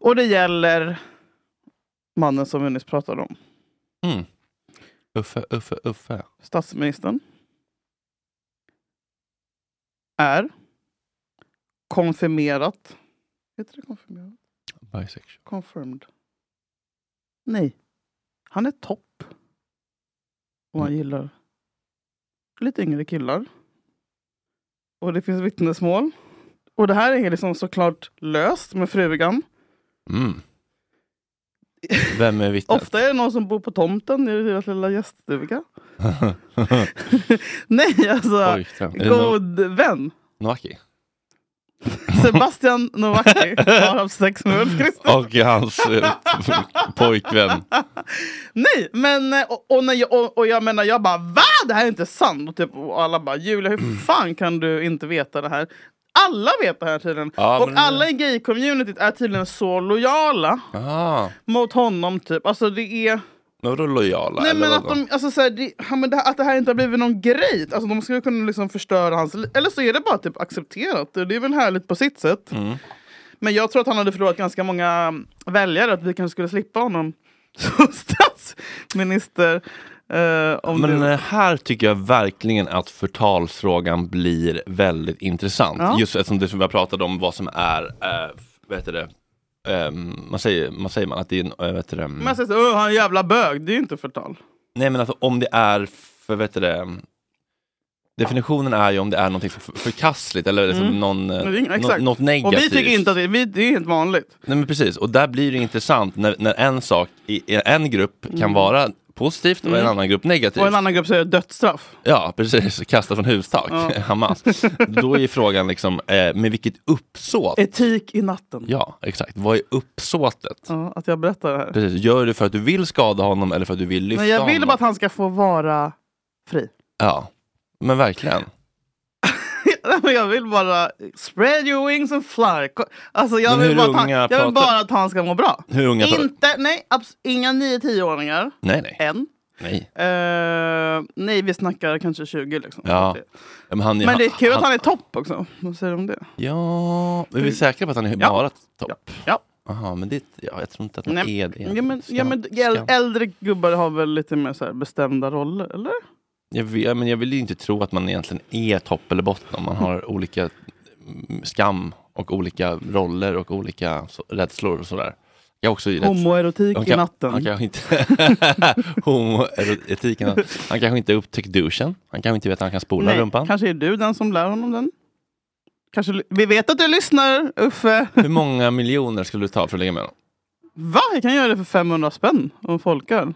Speaker 2: Och det gäller mannen som vi nyss pratade om.
Speaker 3: Mm. Uffe, Uffe, Uffe.
Speaker 2: Statsministern. Är konfirmerat. Heter det konfirmerat?
Speaker 3: Bisexual.
Speaker 2: Confirmed. Nej. Han är topp. Och han
Speaker 3: Mm.
Speaker 2: gillar lite yngre killar. Och det finns vittnesmål. Och det här är liksom såklart löst med frugan.
Speaker 3: Mm. Vem är vittnet?
Speaker 2: Ofta är det någon som bor på tomten i deras lilla
Speaker 3: (laughs)
Speaker 2: gäststuga. Nej, alltså.
Speaker 3: Oj, fan. Är det no-
Speaker 2: God vän.
Speaker 3: Noaki?
Speaker 2: Sebastian Novacki har haft sex med
Speaker 3: (laughs)
Speaker 2: Ulf Kristersson.
Speaker 3: Och
Speaker 2: (laughs)
Speaker 3: hans eh, pojkvän.
Speaker 2: Nej, men eh, och, och, när jag, och, och jag menar jag bara va? Det här är inte sant! Och, typ, och alla bara Julia
Speaker 3: Mm.
Speaker 2: hur fan kan du inte veta det här? Alla vet det här tydligen.
Speaker 3: Ja,
Speaker 2: och
Speaker 3: men-
Speaker 2: alla i gay-communityt är tydligen så lojala
Speaker 3: Ah,
Speaker 2: mot honom. typ. Alltså det är...
Speaker 3: men vadå lojala?
Speaker 2: Nej
Speaker 3: eller
Speaker 2: men att,
Speaker 3: vadå?
Speaker 2: de, alltså, så här, det, ja, men det, här- att det här inte har blivit någon grej. Alltså, de skulle kunna liksom förstöra hans liv. Eller så är det bara typ accepterat. Det är väl härligt på sitt sätt.
Speaker 3: Mm.
Speaker 2: Men jag tror att han hade förlorat ganska många mm, väljare. Att vi kanske skulle slippa honom (laughs) som statsminister. eh, om
Speaker 3: Men
Speaker 2: det...
Speaker 3: eh, här tycker jag verkligen att förtalsfrågan blir väldigt intressant.
Speaker 2: Ja.
Speaker 3: Just eftersom det som vi har pratat om vad som är, eh, vad heter det, Ehm, man säger, man säger man att det är en, eh, vad heter det,
Speaker 2: Men jag säger så, "Åh, han är en jävla bög. Det är ju inte förtal.
Speaker 3: nej men alltså om det är, för, vad heter det, definitionen är ju om det är något för, förkastligt eller liksom
Speaker 2: Mm.
Speaker 3: någon, eh,
Speaker 2: Men det är ing-
Speaker 3: nå-
Speaker 2: Exakt.
Speaker 3: något negativt.
Speaker 2: Och vi tycker inte att det, vi, det är helt vanligt.
Speaker 3: Nej men precis, och där blir det intressant när, när en sak i i en grupp kan
Speaker 2: Mm.
Speaker 3: vara positivt och en
Speaker 2: Mm.
Speaker 3: annan grupp negativt.
Speaker 2: Och en annan grupp säger dödsstraff.
Speaker 3: Ja, precis. Kasta från hustak,
Speaker 2: Ja.
Speaker 3: (laughs) Hamas. Då är frågan liksom, eh, med vilket uppsåt?
Speaker 2: Eh. Etik i natten.
Speaker 3: Ja, exakt. Vad är uppsåtet?
Speaker 2: Ja, att jag berättar det här.
Speaker 3: Precis. Gör du det för att du vill skada honom eller för att du vill lyfta
Speaker 2: Men jag vill
Speaker 3: honom?
Speaker 2: bara att han ska få vara fri.
Speaker 3: Ja, men verkligen.
Speaker 2: Nej, men (laughs) jag vill bara spread your wings and fly. Ko- Alltså jag vill,
Speaker 3: Men hur
Speaker 2: bara att, han,
Speaker 3: unga
Speaker 2: jag
Speaker 3: pratar-
Speaker 2: vill bara att han ska må bra.
Speaker 3: Hur unga pratar-
Speaker 2: Inte, nej, abs- inga 9-10-åringar.
Speaker 3: Nej, nej.
Speaker 2: Än.
Speaker 3: Nej.
Speaker 2: Eh, nej, vi snackar kanske 20 liksom.
Speaker 3: Ja.
Speaker 2: Det-
Speaker 3: Ja, Men, han,
Speaker 2: Men det är kul att han är topp också. Vad säger du om det?
Speaker 3: Ja, men vi är säkra på att han är
Speaker 2: Ja.
Speaker 3: bara topp?
Speaker 2: Ja.
Speaker 3: Aha, men det, ja, jag tror inte att han
Speaker 2: Nej.
Speaker 3: är det.
Speaker 2: Ja, men, ja, men äl- äldre gubbar har väl lite mer så här bestämda roller, eller?
Speaker 3: Jag, vill, ja, men jag vill ju inte tro att man egentligen är topp eller botten om man har olika mm, skam och olika roller och olika så, rädslor och sådär. Jag är också rätt-
Speaker 2: Homoerotik
Speaker 3: han
Speaker 2: i
Speaker 3: kan-
Speaker 2: natten.
Speaker 3: Han kanske inte... (laughs) Homoerotiken. Han kanske inte upptäckt duschen. Han kanske inte vet att han kan spola
Speaker 2: Nej,
Speaker 3: rumpan.
Speaker 2: Kanske är du den som lär honom den. Kanske, li- vi vet att du lyssnar, Uffe.
Speaker 3: Hur många miljoner skulle du ta för att ligga med honom?
Speaker 2: Va? Jag kan göra det för 500 spänn och en folköl.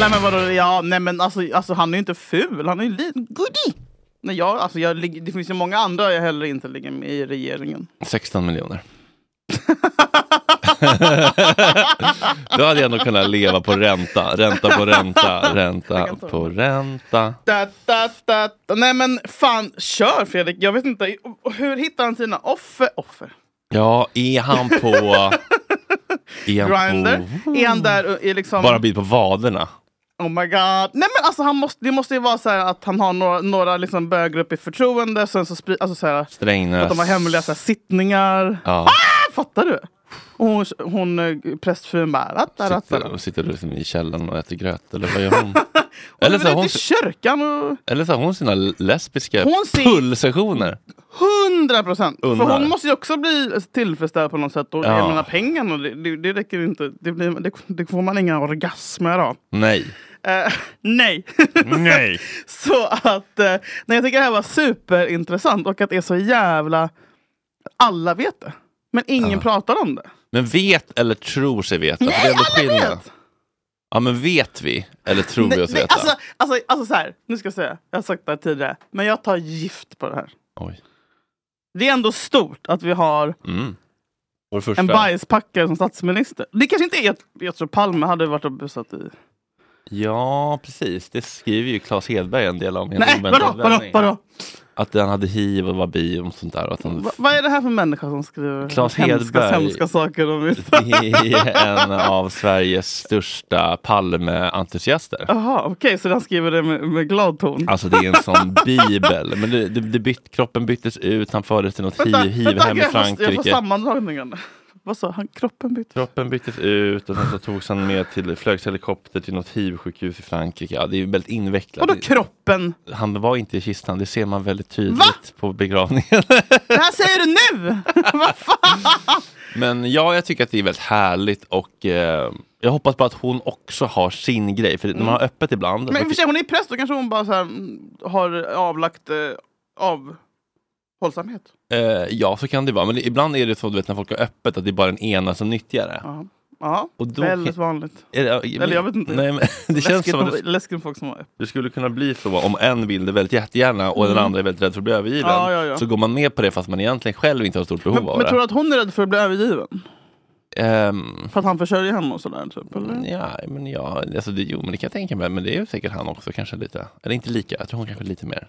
Speaker 2: nej men vadå, ja, nej men alltså, alltså han är ju inte ful, han är ju lite goodie. Nej, jag, alltså, jag, ligger- det finns ju många andra jag hellre inte ligger med i regeringen. (laughs)
Speaker 3: 16 miljoner. Då hade jag ändå kunnat leva på ränta, ränta på ränta, ränta på ränta.
Speaker 2: Da, da, da, da. Nej men fan, kör Fredrik! Jag vet inte, hur hittar han sina offer? offer.
Speaker 3: Ja,
Speaker 2: (laughs)
Speaker 3: är han på... Är han
Speaker 2: Grindr?
Speaker 3: på
Speaker 2: Är han där och är liksom...
Speaker 3: bara en bild på vaderna?
Speaker 2: Oh my god. Nej men alltså han måste, det måste ju vara så här att han har några, några liksom bögar upp i förtroende. Sen så spri, alltså så här,
Speaker 3: Strängnäs.
Speaker 2: Att de har hemliga så här, sittningar.
Speaker 3: Ja.
Speaker 2: Ah, fattar du? Och hon, hon eh, prästfrun bara... Ratta, ratta.
Speaker 3: Sitter, sitter du liksom i källaren och äter gröt eller
Speaker 2: (laughs)
Speaker 3: vad gör hon? eller,
Speaker 2: Eller
Speaker 3: så
Speaker 2: så
Speaker 3: har hon,
Speaker 2: I kyrkan och...
Speaker 3: eller så har hon sina lesbiska
Speaker 2: Hon ser-
Speaker 3: pullsessioner.
Speaker 2: 100 procent! För
Speaker 3: Undrar.
Speaker 2: hon måste ju också bli tillfredsställd på något sätt. Och
Speaker 3: Ja.
Speaker 2: jag menar pengarna, det, det, det räcker inte. Det, blir, det, det får man inga orgasmer av.
Speaker 3: Nej.
Speaker 2: Eh, (laughs) nej!
Speaker 3: Mm. Nej.
Speaker 2: Så att, eh, nej, jag tycker det här var superintressant och att det är så jävla... Alla vet det, men ingen pratar om det.
Speaker 3: Men vet eller tror sig veta? Nej, Alltså, det är ändå skillnad. Ja, men vet vi eller tror vi
Speaker 2: Nej,
Speaker 3: oss
Speaker 2: nej,
Speaker 3: veta?
Speaker 2: Alltså, alltså, alltså så här, nu ska jag säga, jag har sagt det här tidigare, men jag tar gift på det här.
Speaker 3: Oj.
Speaker 2: Det är ändå stort att vi har
Speaker 3: Mm. Vår första.
Speaker 2: en bajspackare som statsminister. Det kanske inte är, jag, jag tror Palme hade varit och busat i.
Speaker 3: Ja, precis. Det skriver ju Claes Hedberg en del om. i en
Speaker 2: Nej,
Speaker 3: oväntad
Speaker 2: vadå, vadå,
Speaker 3: vändning.
Speaker 2: vadå?
Speaker 3: Att han hade hiv och var bi och sånt där. Och att han
Speaker 2: Va, vad är det här för människa som skriver
Speaker 3: Claes
Speaker 2: hemska,
Speaker 3: Hedberg.
Speaker 2: hemska saker om vissa?
Speaker 3: är en av Sveriges största Palme-entusiaster.
Speaker 2: Jaha, okej, så han skriver det med, med glad ton.
Speaker 3: Alltså det är en sån bibel. Men det, det, det bytt, kroppen byttes ut, han fördes till något hiv, hivhem i
Speaker 2: jag, får, jag får
Speaker 3: Frankrike.
Speaker 2: sammandragningen. Vad sa han? Kroppen bytte?
Speaker 3: Kroppen byttes ut och sen så togs han med till, flögs helikopter till något hiv-sjukhus i Frankrike. Ja, det är ju väldigt invecklat.
Speaker 2: Vadå kroppen?
Speaker 3: Det- Han var inte i kistan, det ser man väldigt tydligt på begravningen.
Speaker 2: Det här säger du
Speaker 3: (laughs)
Speaker 2: nu! Vad fan!
Speaker 3: Men ja, jag tycker att det är väldigt härligt och eh, jag hoppas bara att hon också har sin grej. För de har öppet ibland.
Speaker 2: Mm. Men i och för sig, hon är präst, då kanske hon bara så här, mm, har avlagt eh, avhållsamhet.
Speaker 3: Eh, ja, så kan det vara. Men ibland är det så du vet, när folk har öppet att det är bara den ena som nyttjar det.
Speaker 2: Ja. Ja,
Speaker 3: Och då-
Speaker 2: väldigt vanligt.
Speaker 3: Är det- ja,
Speaker 2: Eller jag vet inte.
Speaker 3: Nej, men (laughs) det känns
Speaker 2: läskigt,
Speaker 3: som att
Speaker 2: med,
Speaker 3: det-
Speaker 2: läskigt med folk som har
Speaker 3: Det skulle kunna bli så om en vill det väldigt jättegärna och den
Speaker 2: Mm.
Speaker 3: andra är väldigt rädd för att bli övergiven.
Speaker 2: Ja, ja, ja.
Speaker 3: Så går man med på det fast man egentligen själv inte har stort behov av
Speaker 2: Men
Speaker 3: det.
Speaker 2: tror du att hon är rädd för att bli övergiven?
Speaker 3: Ehm,
Speaker 2: För att han försörjer henne och sådär? Typ, eller?
Speaker 3: ja, men ja, alltså det, jo, men det kan jag tänka mig. Men det är ju säkert han också kanske lite. Eller inte lika, jag tror hon kanske är lite mer.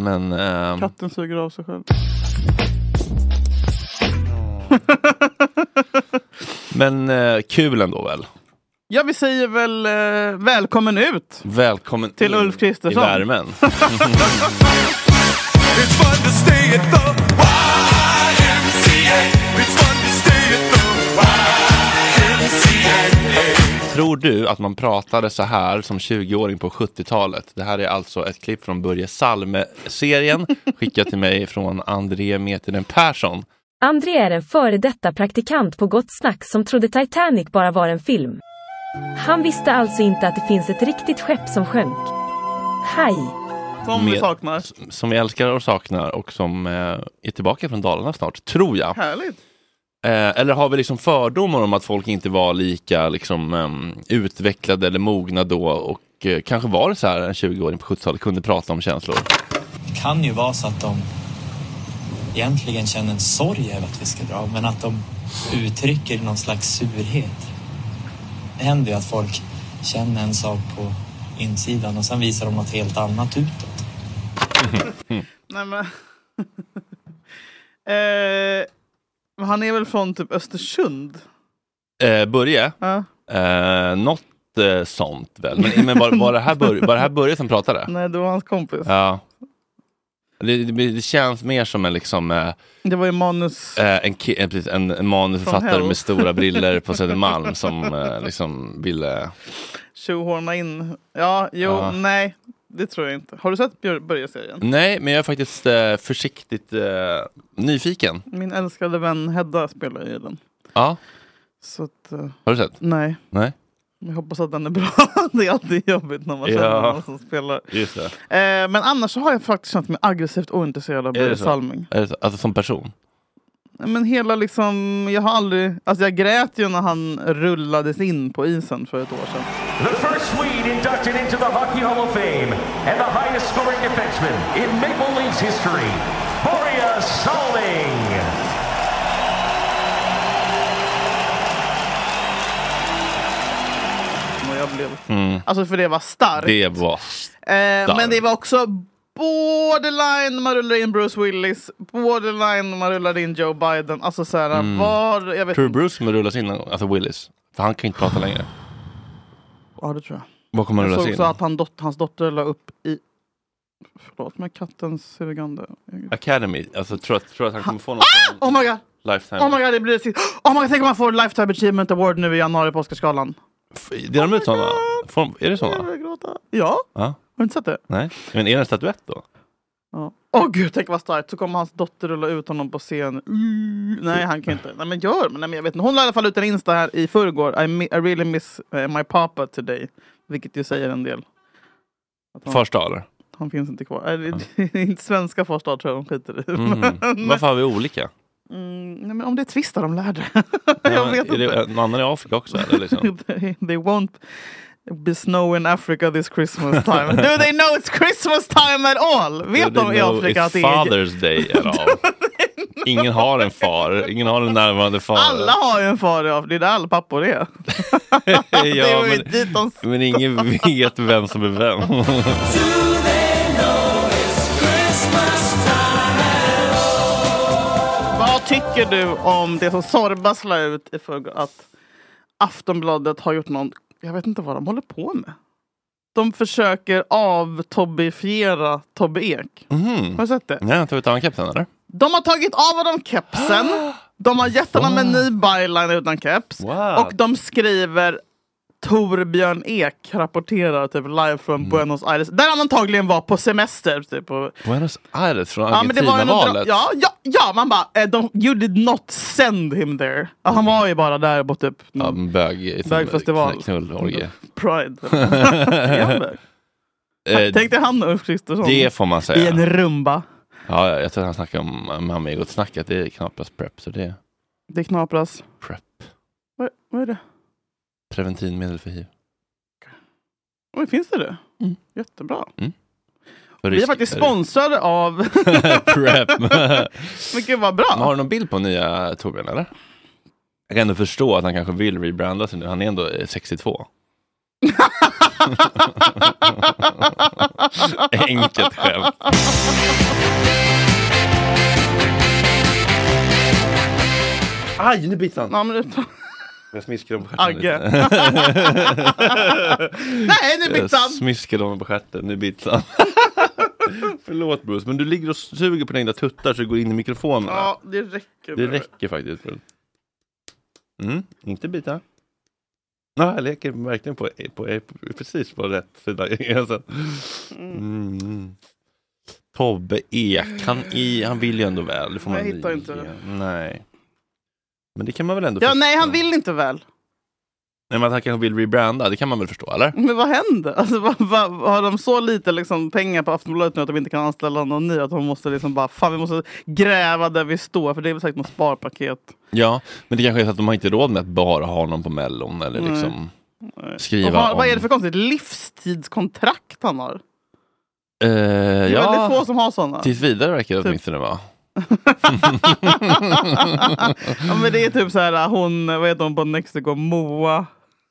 Speaker 3: Men... ehm,
Speaker 2: Katten suger av sig själv.
Speaker 3: men eh, kul ändå väl?
Speaker 2: Ja, vi säger väl eh, välkommen ut!
Speaker 3: Välkommen
Speaker 2: Till
Speaker 3: in
Speaker 2: Ulf Kristersson.
Speaker 3: I värmen.
Speaker 1: It's fun to stay at the YMCA. It's fun to stay at the YMCA.
Speaker 3: Tror du att man pratade så här som 20-åring på 70-talet? Det här är alltså ett klipp från Börje
Speaker 2: (laughs)
Speaker 3: Salme-serien skickat till mig från André Metinen Persson.
Speaker 5: André är en före detta praktikant på Gott Snack som trodde Titanic bara var en film. Han visste alltså inte att det finns ett riktigt skepp som sjönk. Haj!
Speaker 2: Som vi
Speaker 3: Med-
Speaker 2: saknar.
Speaker 3: s- Som vi älskar och saknar och som eh, är tillbaka från Dalarna snart, tror jag.
Speaker 2: Härligt!
Speaker 3: Eh, eller har vi liksom fördomar om att folk inte var lika liksom, ehm, utvecklade eller mogna då och eh, kanske var det så här en 20-åring på 70-talet kunde prata om känslor?
Speaker 10: Det kan ju vara så att de egentligen känner en sorg över att vi ska dra, men att de uttrycker någon slags surhet. Det händer ju att folk känner en sak på insidan och sen visar de något helt annat utåt.
Speaker 2: Nej, men... (laughs) eh, men han är väl från typ Östersund?
Speaker 3: Eh, Börje?
Speaker 2: Ja.
Speaker 3: Eh, något eh, sånt väl? Men, men var, var, det här Börje, var det här Börje som pratade?
Speaker 2: Nej, det var hans kompis.
Speaker 3: Ja. Det, det, det känns mer som en, liksom, eh,
Speaker 2: Det var ju manus...
Speaker 3: eh, en, ki- eh, precis, en, en manusförfattare
Speaker 2: Hell.
Speaker 3: med stora briller på Södermalm som eh, liksom ville...
Speaker 2: tjohorna in. Ja, jo,
Speaker 3: Ja. Mm.
Speaker 2: nej. Det tror jag inte. Har du sett Björ- Börje-serien?
Speaker 3: Nej, men jag är faktiskt eh, försiktigt eh, nyfiken.
Speaker 2: Min älskade vän Hedda spelar i den.
Speaker 3: Ja,
Speaker 2: Så att, eh,
Speaker 3: har du sett?
Speaker 2: Nej.
Speaker 3: Nej.
Speaker 2: jag hoppas att den är bra. (laughs) det är alltid jobbigt när man
Speaker 3: Ja.
Speaker 2: känner någon som spelar.
Speaker 3: Just det.
Speaker 2: Eh, men annars så har jag faktiskt känt mig aggressivt ointresserad av
Speaker 3: Är
Speaker 2: Börje
Speaker 3: det så?
Speaker 2: Salming.
Speaker 3: Är det så? Alltså som person?
Speaker 2: Nej, Men hela liksom, jag har aldrig... Alltså jag grät ju när han rullades in på isen för ett år sedan.
Speaker 11: The first Swede inducted into the Hockey Hall of Fame and the highest scoring defenseman in Maple Leafs history, Boria Salling.
Speaker 2: Och jag blev...
Speaker 3: Mm.
Speaker 2: Alltså för det var starkt.
Speaker 3: Det var...
Speaker 2: Eh,
Speaker 3: Stark.
Speaker 2: men det var också borderline när man rullade in Bruce Willis, borderline när man rullade in Joe Biden. Alltså så här,
Speaker 3: Mm.
Speaker 2: var... Jag vet
Speaker 3: Tror du
Speaker 2: inte.
Speaker 3: Bruce kommer rullas in någon gång? Alltså Willis? För han kan ju inte prata längre.
Speaker 2: Ja, det tror jag.
Speaker 3: Vad kommer han
Speaker 2: jag
Speaker 3: rullas
Speaker 2: såg
Speaker 3: in?
Speaker 2: också att han dot- hans dotter la upp i... Förlåt, men kattens sugande...
Speaker 3: Academy? Alltså tror att, tror att han kommer få någon sån
Speaker 2: Oh my god!
Speaker 3: lifetime?
Speaker 2: Oh my god, det blir sitt... Oh my god, tänk om han får Lifetime Achievement Award nu i januari på Oscarsgalan.
Speaker 3: Delar de ut sådana? Får de- Är det sådana?
Speaker 2: Ja,
Speaker 3: Ja.
Speaker 2: har du inte sett det?
Speaker 3: Nej. Men är det en statuett då?
Speaker 2: Ja. Åh gud, tänk vad starkt. Så kommer hans dotter rulla ut honom på scen. Mm. Nej, han kan ju inte. Nej, men gör. Men, nej, men jag vet inte. Hon la i alla fall ut en Insta här i förrgår. I, mi- I really miss eh, my papa today. Vilket ju säger en del. Att han,
Speaker 3: Första eller?
Speaker 2: Han finns inte kvar. Äh, (laughs) det- det är inte svenska första tror jag de skiter i.
Speaker 3: Mm.
Speaker 2: Men-
Speaker 3: Varför har vi olika?
Speaker 2: Mm, (laughs) nej, men om det (laughs) är Twista de lärde.
Speaker 3: Ja,
Speaker 2: vet
Speaker 3: är det, någon annan i Afrika också? Eller liksom?
Speaker 2: (laughs) They won't be snow in Africa this Christmas
Speaker 3: (laughs)
Speaker 2: time. Do they know it's Christmas time at all? (laughs) Vet
Speaker 3: Do
Speaker 2: de
Speaker 3: they
Speaker 2: i
Speaker 3: know
Speaker 2: Afrika
Speaker 3: it's
Speaker 2: att det är...
Speaker 3: Father's day at
Speaker 2: (laughs)
Speaker 3: all? Ingen har en far, ingen har en närvarande far.
Speaker 2: Alla har ju en far i Afrika. Det är där alla pappor är.
Speaker 3: (laughs) ja,
Speaker 2: var ju
Speaker 3: men, men ingen vet vem som är vem.
Speaker 2: (laughs) Vad tycker du om det som Sorbas la ut i förrgår? Att Aftonbladet har gjort någon... Jag vet inte vad de håller på med. De försöker avtobbifiera Tobbe Ek.
Speaker 3: Mhm.
Speaker 2: Har du sett det?
Speaker 3: Nej, jag tar ut ankappen eller?
Speaker 2: De har tagit av honom kepsen.
Speaker 3: (gasps)
Speaker 2: De har gett honom en ny byline utan keps. Och de skriver Torbjörn Ek rapporterar typ live från
Speaker 3: Mm.
Speaker 2: Buenos Aires. Där han antagligen var på semester. Typ, och,
Speaker 3: Buenos Aires från
Speaker 2: Ja, men det var ju något dra-
Speaker 3: Argentina-valet.
Speaker 2: ja, ja, ja, man bara, eh, de, you did not send him there. Ja, han var ju bara där på typ
Speaker 3: Ja, en bög,
Speaker 2: Bögfestival.
Speaker 3: Knullorgie. (laughs)
Speaker 2: Pride. Är han där?
Speaker 3: Eh,
Speaker 2: Tänk dig han och Ulf Kristersson.
Speaker 3: det får man säga.
Speaker 2: I en rumba.
Speaker 3: Ja, jag- jag tror att han snackade om eh, mamma egot snack att det är knappast prep, så det är
Speaker 2: Det knapras.
Speaker 3: Prep.
Speaker 2: Vad, vad är det?
Speaker 3: preventivmedel för hiv.
Speaker 2: Oj, finns det det? Jättebra.
Speaker 3: Mm. För
Speaker 2: Vi är
Speaker 3: risk-
Speaker 2: faktiskt
Speaker 3: (laughs)
Speaker 2: sponsrade av... (laughs)
Speaker 3: prep.
Speaker 2: Men gud vad bra.
Speaker 3: Men (laughs) har du någon bild på nya Torbjörn eller? Jag kan ändå förstå att han kanske vill rebranda sig nu. Han är ändå eh, 62. (laughs) Enkelt skämt. Aj, nu biter han.
Speaker 2: Ja, men det-
Speaker 3: Jag smiskade dem på stjärten
Speaker 2: Agge. (laughs)
Speaker 3: lite. (laughs)
Speaker 2: Nej, nu bytte han.
Speaker 3: Jag smiskade dem på stjärten, nu biter han. (laughs) Förlåt Bruce, men du ligger och suger på dina tuttar så du går in i mikrofonen.
Speaker 2: Ja, det räcker.
Speaker 3: Det
Speaker 2: nu.
Speaker 3: räcker faktiskt. Bruce. Mm, inte bita. Ja, jag leker verkligen på, på, på precis på rätt sida (laughs) gränsen. Mm. Tobbe Ek, han, i, han vill ju ändå väl. Det får man
Speaker 2: Jag hittar
Speaker 3: ge.
Speaker 2: inte det.
Speaker 3: Nej. Men det kan man väl ändå
Speaker 2: Ja,
Speaker 3: förstå.
Speaker 2: nej, han vill inte väl.
Speaker 3: Nej, men att han kanske vill rebranda, det kan man väl förstå, eller?
Speaker 2: (laughs) Men vad händer? Alltså, vad, vad, har de så lite liksom, pengar på Aftonbladet nu att de inte kan anställa någon ny? Att de måste liksom bara, fan vi måste gräva där vi står. För det är väl säkert något sparpaket.
Speaker 3: Ja, men det kanske är så att de har inte råd med att bara ha någon på mellon eller
Speaker 2: Nej.
Speaker 3: liksom
Speaker 2: Och
Speaker 3: skriva
Speaker 2: vad,
Speaker 3: om...
Speaker 2: vad är det för konstigt livstidskontrakt han har?
Speaker 3: Eh,
Speaker 2: Det är
Speaker 3: ja,
Speaker 2: väldigt få som Typ- har sådana.
Speaker 3: tills vidare verkar det åtminstone vara.
Speaker 2: ja, men det är typ så här, hon, vad heter hon på Nexiko? Moa?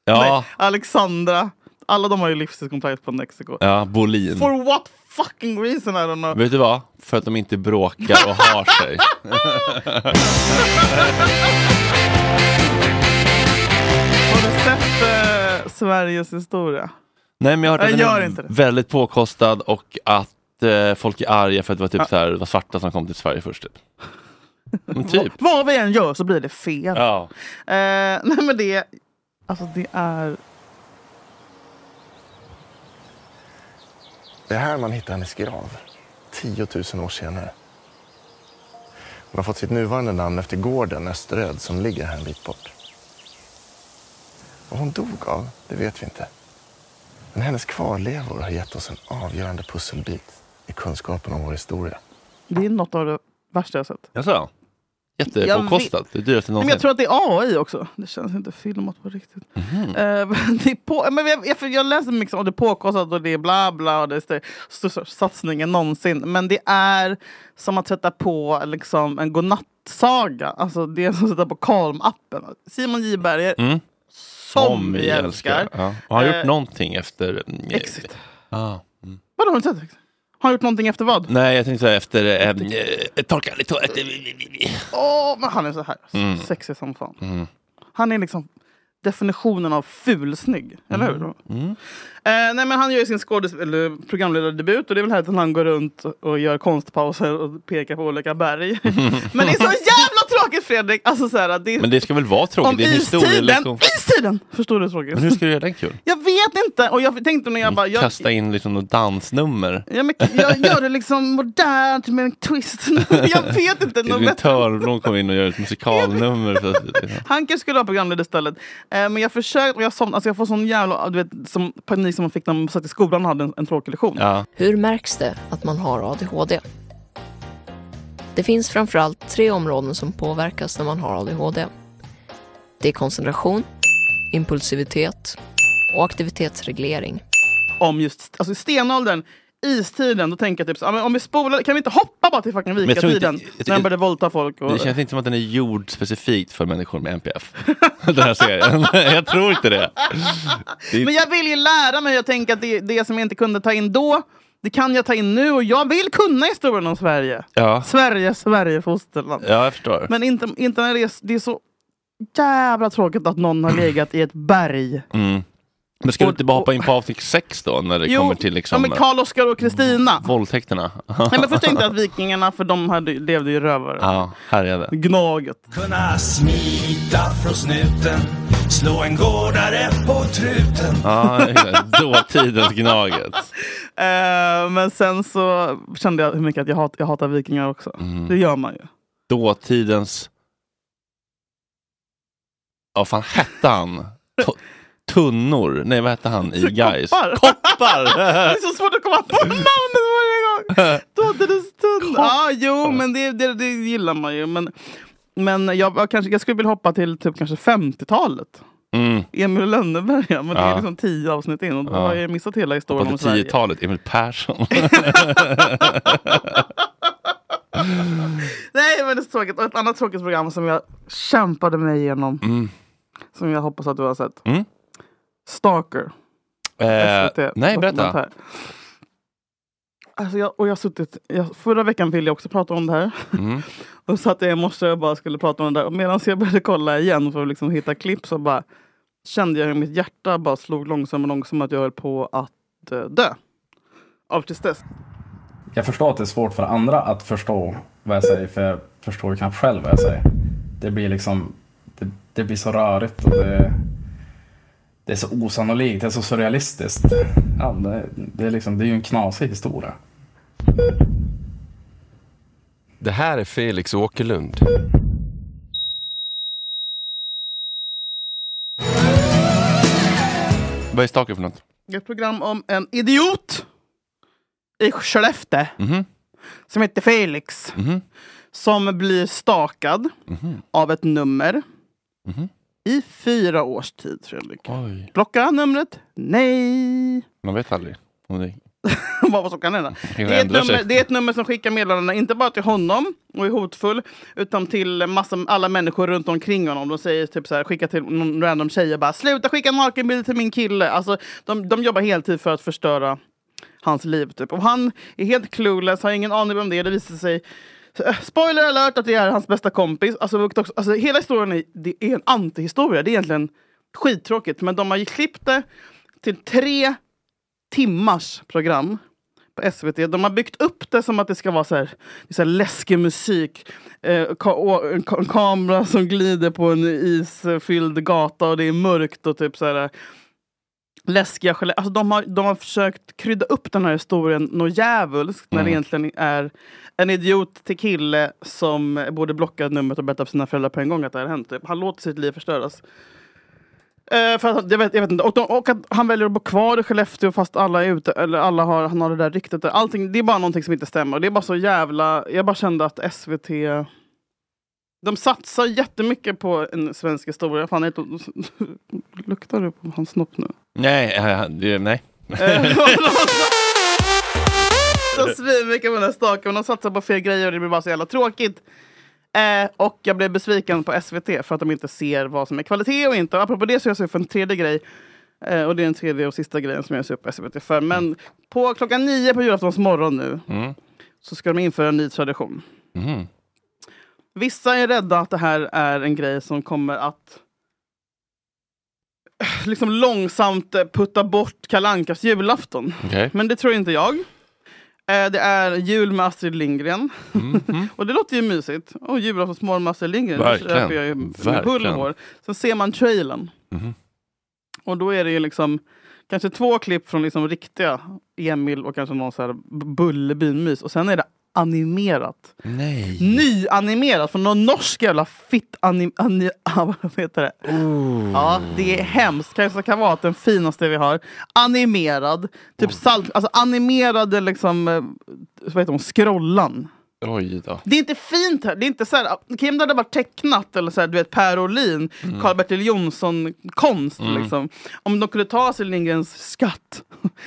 Speaker 3: Ja,
Speaker 2: Nej, Alexandra. Alla de har ju livstidskontrakt på Nexiko.
Speaker 3: ja Bolin.
Speaker 2: For what fucking reason I don't know.
Speaker 3: Vet du vad? För att de inte bråkar och har
Speaker 2: (laughs)
Speaker 3: sig.
Speaker 2: Har du sett eh, Sveriges historia?
Speaker 3: Nej, men jag har hört
Speaker 2: Jag
Speaker 3: att
Speaker 2: gör
Speaker 3: den
Speaker 2: inte
Speaker 3: är
Speaker 2: det.
Speaker 3: väldigt påkostad och att eh, folk är arga för att det var typ så här, det var svarta som kom till Sverige först. Typ.
Speaker 2: (laughs)
Speaker 3: Men typ.
Speaker 2: Vad vi än gör så blir det fel.
Speaker 3: Ja.
Speaker 2: Eh, (laughs) nej men det, alltså det är...
Speaker 12: Det är här man hittar hennes grav, 10 000 år senare. Hon har fått sitt nuvarande namn efter gården Österöd som ligger här en bit bort. Vad hon dog av, det vet vi inte. Men hennes kvarlevor har gett oss en avgörande pusselbit i kunskapen om vår historia.
Speaker 2: Det är något av det värsta jag sett.
Speaker 3: Jaså?
Speaker 2: Jag
Speaker 3: Jättepåkostat. Det dyraste
Speaker 2: Nej, men
Speaker 3: någonsin.
Speaker 2: jag tror att det är AI också. Det känns inte filmat på riktigt. Eh,
Speaker 3: Mhm.
Speaker 2: (laughs) men det är på, men jag, jag, för jag läser mycket om det är påkostat och det är bla bla och det är st- största satsningen någonsin. Men det är som att sätta på liksom, en godnattsaga. Alltså, det är som att sätta på Calm-appen. Simon J Berger,
Speaker 3: Mm.
Speaker 2: som, vi älskar.
Speaker 3: Ja. Och har han gjort
Speaker 2: Eh,
Speaker 3: någonting efter...
Speaker 2: Exit.
Speaker 3: Ah.
Speaker 2: Vadå, har du inte sett det? Har han gjort någonting efter vad?
Speaker 3: Nej, jag tänkte säga efter... Eh, eh, torka lite tåret.
Speaker 2: Åh, men han är så här
Speaker 3: Mm.
Speaker 2: sexig som fan.
Speaker 3: Mm.
Speaker 2: Han är liksom definitionen av fulsnygg,
Speaker 3: Mm.
Speaker 2: eller hur? Eh, nej, men han gör ju sin skådis- eller programledardebut och det är väl här
Speaker 3: (laughs)
Speaker 2: att han går runt och gör konstpauser och pekar på olika berg. men det är så jävla tråkigt Fredrik. Alltså, så här, det,
Speaker 3: Men det ska väl vara tråkigt?
Speaker 2: om
Speaker 3: Det är en
Speaker 2: istiden,
Speaker 3: historielektion.
Speaker 2: istiden! Förstår du tråkigt?
Speaker 3: Men hur ska du göra den kul?
Speaker 2: Jag vet inte! Och jag tänkte när jag bara... Jag,
Speaker 3: Kasta in liksom något dansnummer?
Speaker 2: ja, men, jag gör det liksom modernt med en twist. (laughs) jag vet inte. något
Speaker 3: Edvin
Speaker 2: bättre.
Speaker 3: Törnblom kommer in och gör ett musikalnummer. För att, liksom.
Speaker 2: Hanker skulle vara programledare istället. Eh, men jag försökte och jag somnade. Alltså jag får sån jävla du vet, som panik som man fick när man satt i skolan och hade en, en tråkig lektion.
Speaker 13: Hur märks det att man har ADHD? Det finns framförallt tre områden som påverkas när man har ADHD. Det är koncentration, impulsivitet och aktivitetsreglering.
Speaker 2: Om just alltså, i stenåldern, istiden, då tänker jag typ så, ja, men om vi spolar, kan vi inte hoppa bara till fucking
Speaker 3: jag tror
Speaker 2: vikatiden?
Speaker 3: inte- jag-
Speaker 2: När de började våldta folk. Och,
Speaker 3: Det känns inte som att den är gjord specifikt för människor med NPF. (laughs) Den här serien. (laughs) Jag tror inte det. det är,
Speaker 2: Men jag vill ju lära mig. Jag tänker att det, det som jag inte kunde ta in då, det kan jag ta in nu. Och jag vill kunna historien om Sverige.
Speaker 3: ja.
Speaker 2: Sverige, Sverige fosterland.
Speaker 3: ja, jag förstår.
Speaker 2: Men inte, inte när det är, det är så jävla tråkigt att någon har legat i ett berg.
Speaker 3: Mm. Men ska du inte bara hoppa in på avsnitt 6 då? När det kommer till liksom, Mm.
Speaker 2: ja, men Karl Oskar och Kristina.
Speaker 3: våldtäkterna? (laughs)
Speaker 2: Nej men förstår inte att vikingarna, för de hade, levde ju rövare.
Speaker 3: Ja, härjade.
Speaker 2: Gnaget.
Speaker 14: Kunna smita från snuten, slå en gårdare på truten.
Speaker 3: Ja, exakt. dåtidens Gnaget.
Speaker 2: Eh, men sen så kände jag hur mycket att jag, hat, jag hatar vikingar också.
Speaker 3: Mm.
Speaker 2: Det gör man ju.
Speaker 3: Dåtidens... Ja, vad fan hette han? To- Tunnor? Nej, vad hette han i Gais?
Speaker 2: Koppar! (laughs) det är så svårt att komma på namnet varje gång! Dåtidens tunn. Ja, jo, men det, det, det gillar man ju. Men, men jag, jag, kanske, jag skulle vilja hoppa till typ kanske 50-talet.
Speaker 3: (laughs) Mm.
Speaker 2: Emil i Lönneberga, men det
Speaker 3: Ja.
Speaker 2: är liksom tio avsnitt in och då
Speaker 3: Ja.
Speaker 2: har jag missat hela historien
Speaker 3: Hoppa
Speaker 2: om
Speaker 3: till
Speaker 2: Sverige.
Speaker 3: 10-talet, Emil Persson.
Speaker 2: Nej men det är så tråkigt. Och ett annat tråkigt program som jag kämpade mig igenom.
Speaker 3: Mm.
Speaker 2: Som jag hoppas att du har sett.
Speaker 3: Mm.
Speaker 2: Stalker.
Speaker 3: Eh, nej, berätta.
Speaker 2: Dokumentär. Alltså jag, och jag har suttit, jag, förra veckan ville jag också prata om det här.
Speaker 3: Mm.
Speaker 2: (laughs) Och satt jag i morse och bara skulle prata om det där. Och medan jag började kolla igen för att liksom hitta klipp så bara kände jag hur mitt hjärta bara slog långsamt och långsamt att jag höll på att eh, dö. Av tristess.
Speaker 15: Jag förstår att det är svårt för andra att förstå vad jag säger, för jag förstår ju knappt själv vad jag säger. Det blir liksom, det, det blir så rörigt och det, det är så osannolikt, det är så surrealistiskt. Ja, det, det, är liksom, det är ju en knasig historia.
Speaker 16: Det här är Felix Åkerlund.
Speaker 3: Vad är Stalker för något?
Speaker 2: Ett program om en idiot i Skellefteå
Speaker 3: Mhm.
Speaker 2: som heter Felix. Som blir stakad
Speaker 3: Mhm.
Speaker 2: av ett nummer i fyra års tid, Fredrik.
Speaker 3: Oj.
Speaker 2: Plocka numret. Nej.
Speaker 3: Man vet aldrig. Om det...
Speaker 2: (laughs) Vad vad som kan hända.
Speaker 3: Det
Speaker 2: Det
Speaker 3: kan
Speaker 2: är, ett
Speaker 3: ändra sig.
Speaker 2: nummer, det är ett nummer som skickar meddelanden, inte bara till honom och är hotfull, utan till massa, alla människor runt omkring honom. De säger typ så här, skicka till någon random tjej och bara “sluta skicka nakenbilder till min kille”. Alltså, de, de jobbar heltid för att förstöra hans liv. Typ. Och han är helt clueless, har ingen aning om det. Det visar sig Eh, Spoiler alert att det är hans bästa kompis. Alltså, vuxit också- alltså, hela historien är, det är en antihistoria. Det är egentligen skittråkigt. Men de har ju klippt det till tre timmars program på SVT. De har byggt upp det som att det ska vara så här, det är så här läskig musik. Eh, ka- å- en ka- en kamera som glider på en isfylld gata och det är mörkt och typ så här eh, läskiga gelé. Alltså de, har, de har försökt krydda upp den här historien något djävulskt när det egentligen är en idiot till kille som borde blocka numret och berätta för sina föräldrar på en gång att det här har hänt. Typ. Han låter sitt liv förstöras. Eh, för att, han- jag, vet, jag vet inte. Och, de, och att han väljer att bo kvar i Skellefteå fast alla är ute, eller alla har, han har det där ryktet. Där. Allting, det är bara någonting som inte stämmer. Det är bara så jävla... Jag bara kände att SVT... De satsar jättemycket på en svensk historia. Fan, jag vet inte, (laughs) luktar det på hans snopp nu?
Speaker 3: Nej, eh, det- nej.
Speaker 2: Så svinmycket på den här staken. Och de satsar på fel grejer och det blir bara så jävla tråkigt. Eh, och jag blev besviken på SVT för att de inte ser vad som är kvalitet och inte. Och apropå det så har jag sett för en tredje grej. Eh, och det är den tredje och sista grejen som jag ser på SVT för. Men på klockan nio på julaftons morgon nu
Speaker 3: Mm.
Speaker 2: så ska de införa en ny tradition.
Speaker 3: Mm.
Speaker 2: Vissa är rädda att det här är en grej som kommer att eh, liksom långsamt eh, putta bort Kalle Ankas julafton.
Speaker 3: Okej.
Speaker 2: Men det tror inte jag. Eh, Det är jul med Astrid Lindgren.
Speaker 3: Mm,
Speaker 2: och det låter ju mysigt. Och julafton med Astrid Lindgren. det
Speaker 3: Verkligen.
Speaker 2: köper jag ju med
Speaker 3: Verkligen.
Speaker 2: hull och hår. Sen ser man trailern.
Speaker 3: Mhm.
Speaker 2: Och då är det ju liksom kanske två klipp från liksom riktiga Emil och kanske någon så här B- Bullerbyn-mys. Och sen är det animerat.
Speaker 3: Nej.
Speaker 2: Nyanimerat från någon norsk jävla fitt anim... Ani, (laughs) ah, vad heter det? Ja, det är hemskt. Kajsa Kavat, den finaste vi har. Animerad. Typ salt... Alltså animerade liksom... eh, Vad heter hon? Skrollan.
Speaker 3: Oj då.
Speaker 2: Det är inte fint här. Det är inte så här, ah, Kim hade bara tecknat eller så här, du vet Per Orlin,
Speaker 3: Mm.
Speaker 2: Karl-Bertil Jonsson-konst.
Speaker 3: Mm.
Speaker 2: Liksom. Om de kunde ta Astrid Lindgrens skatt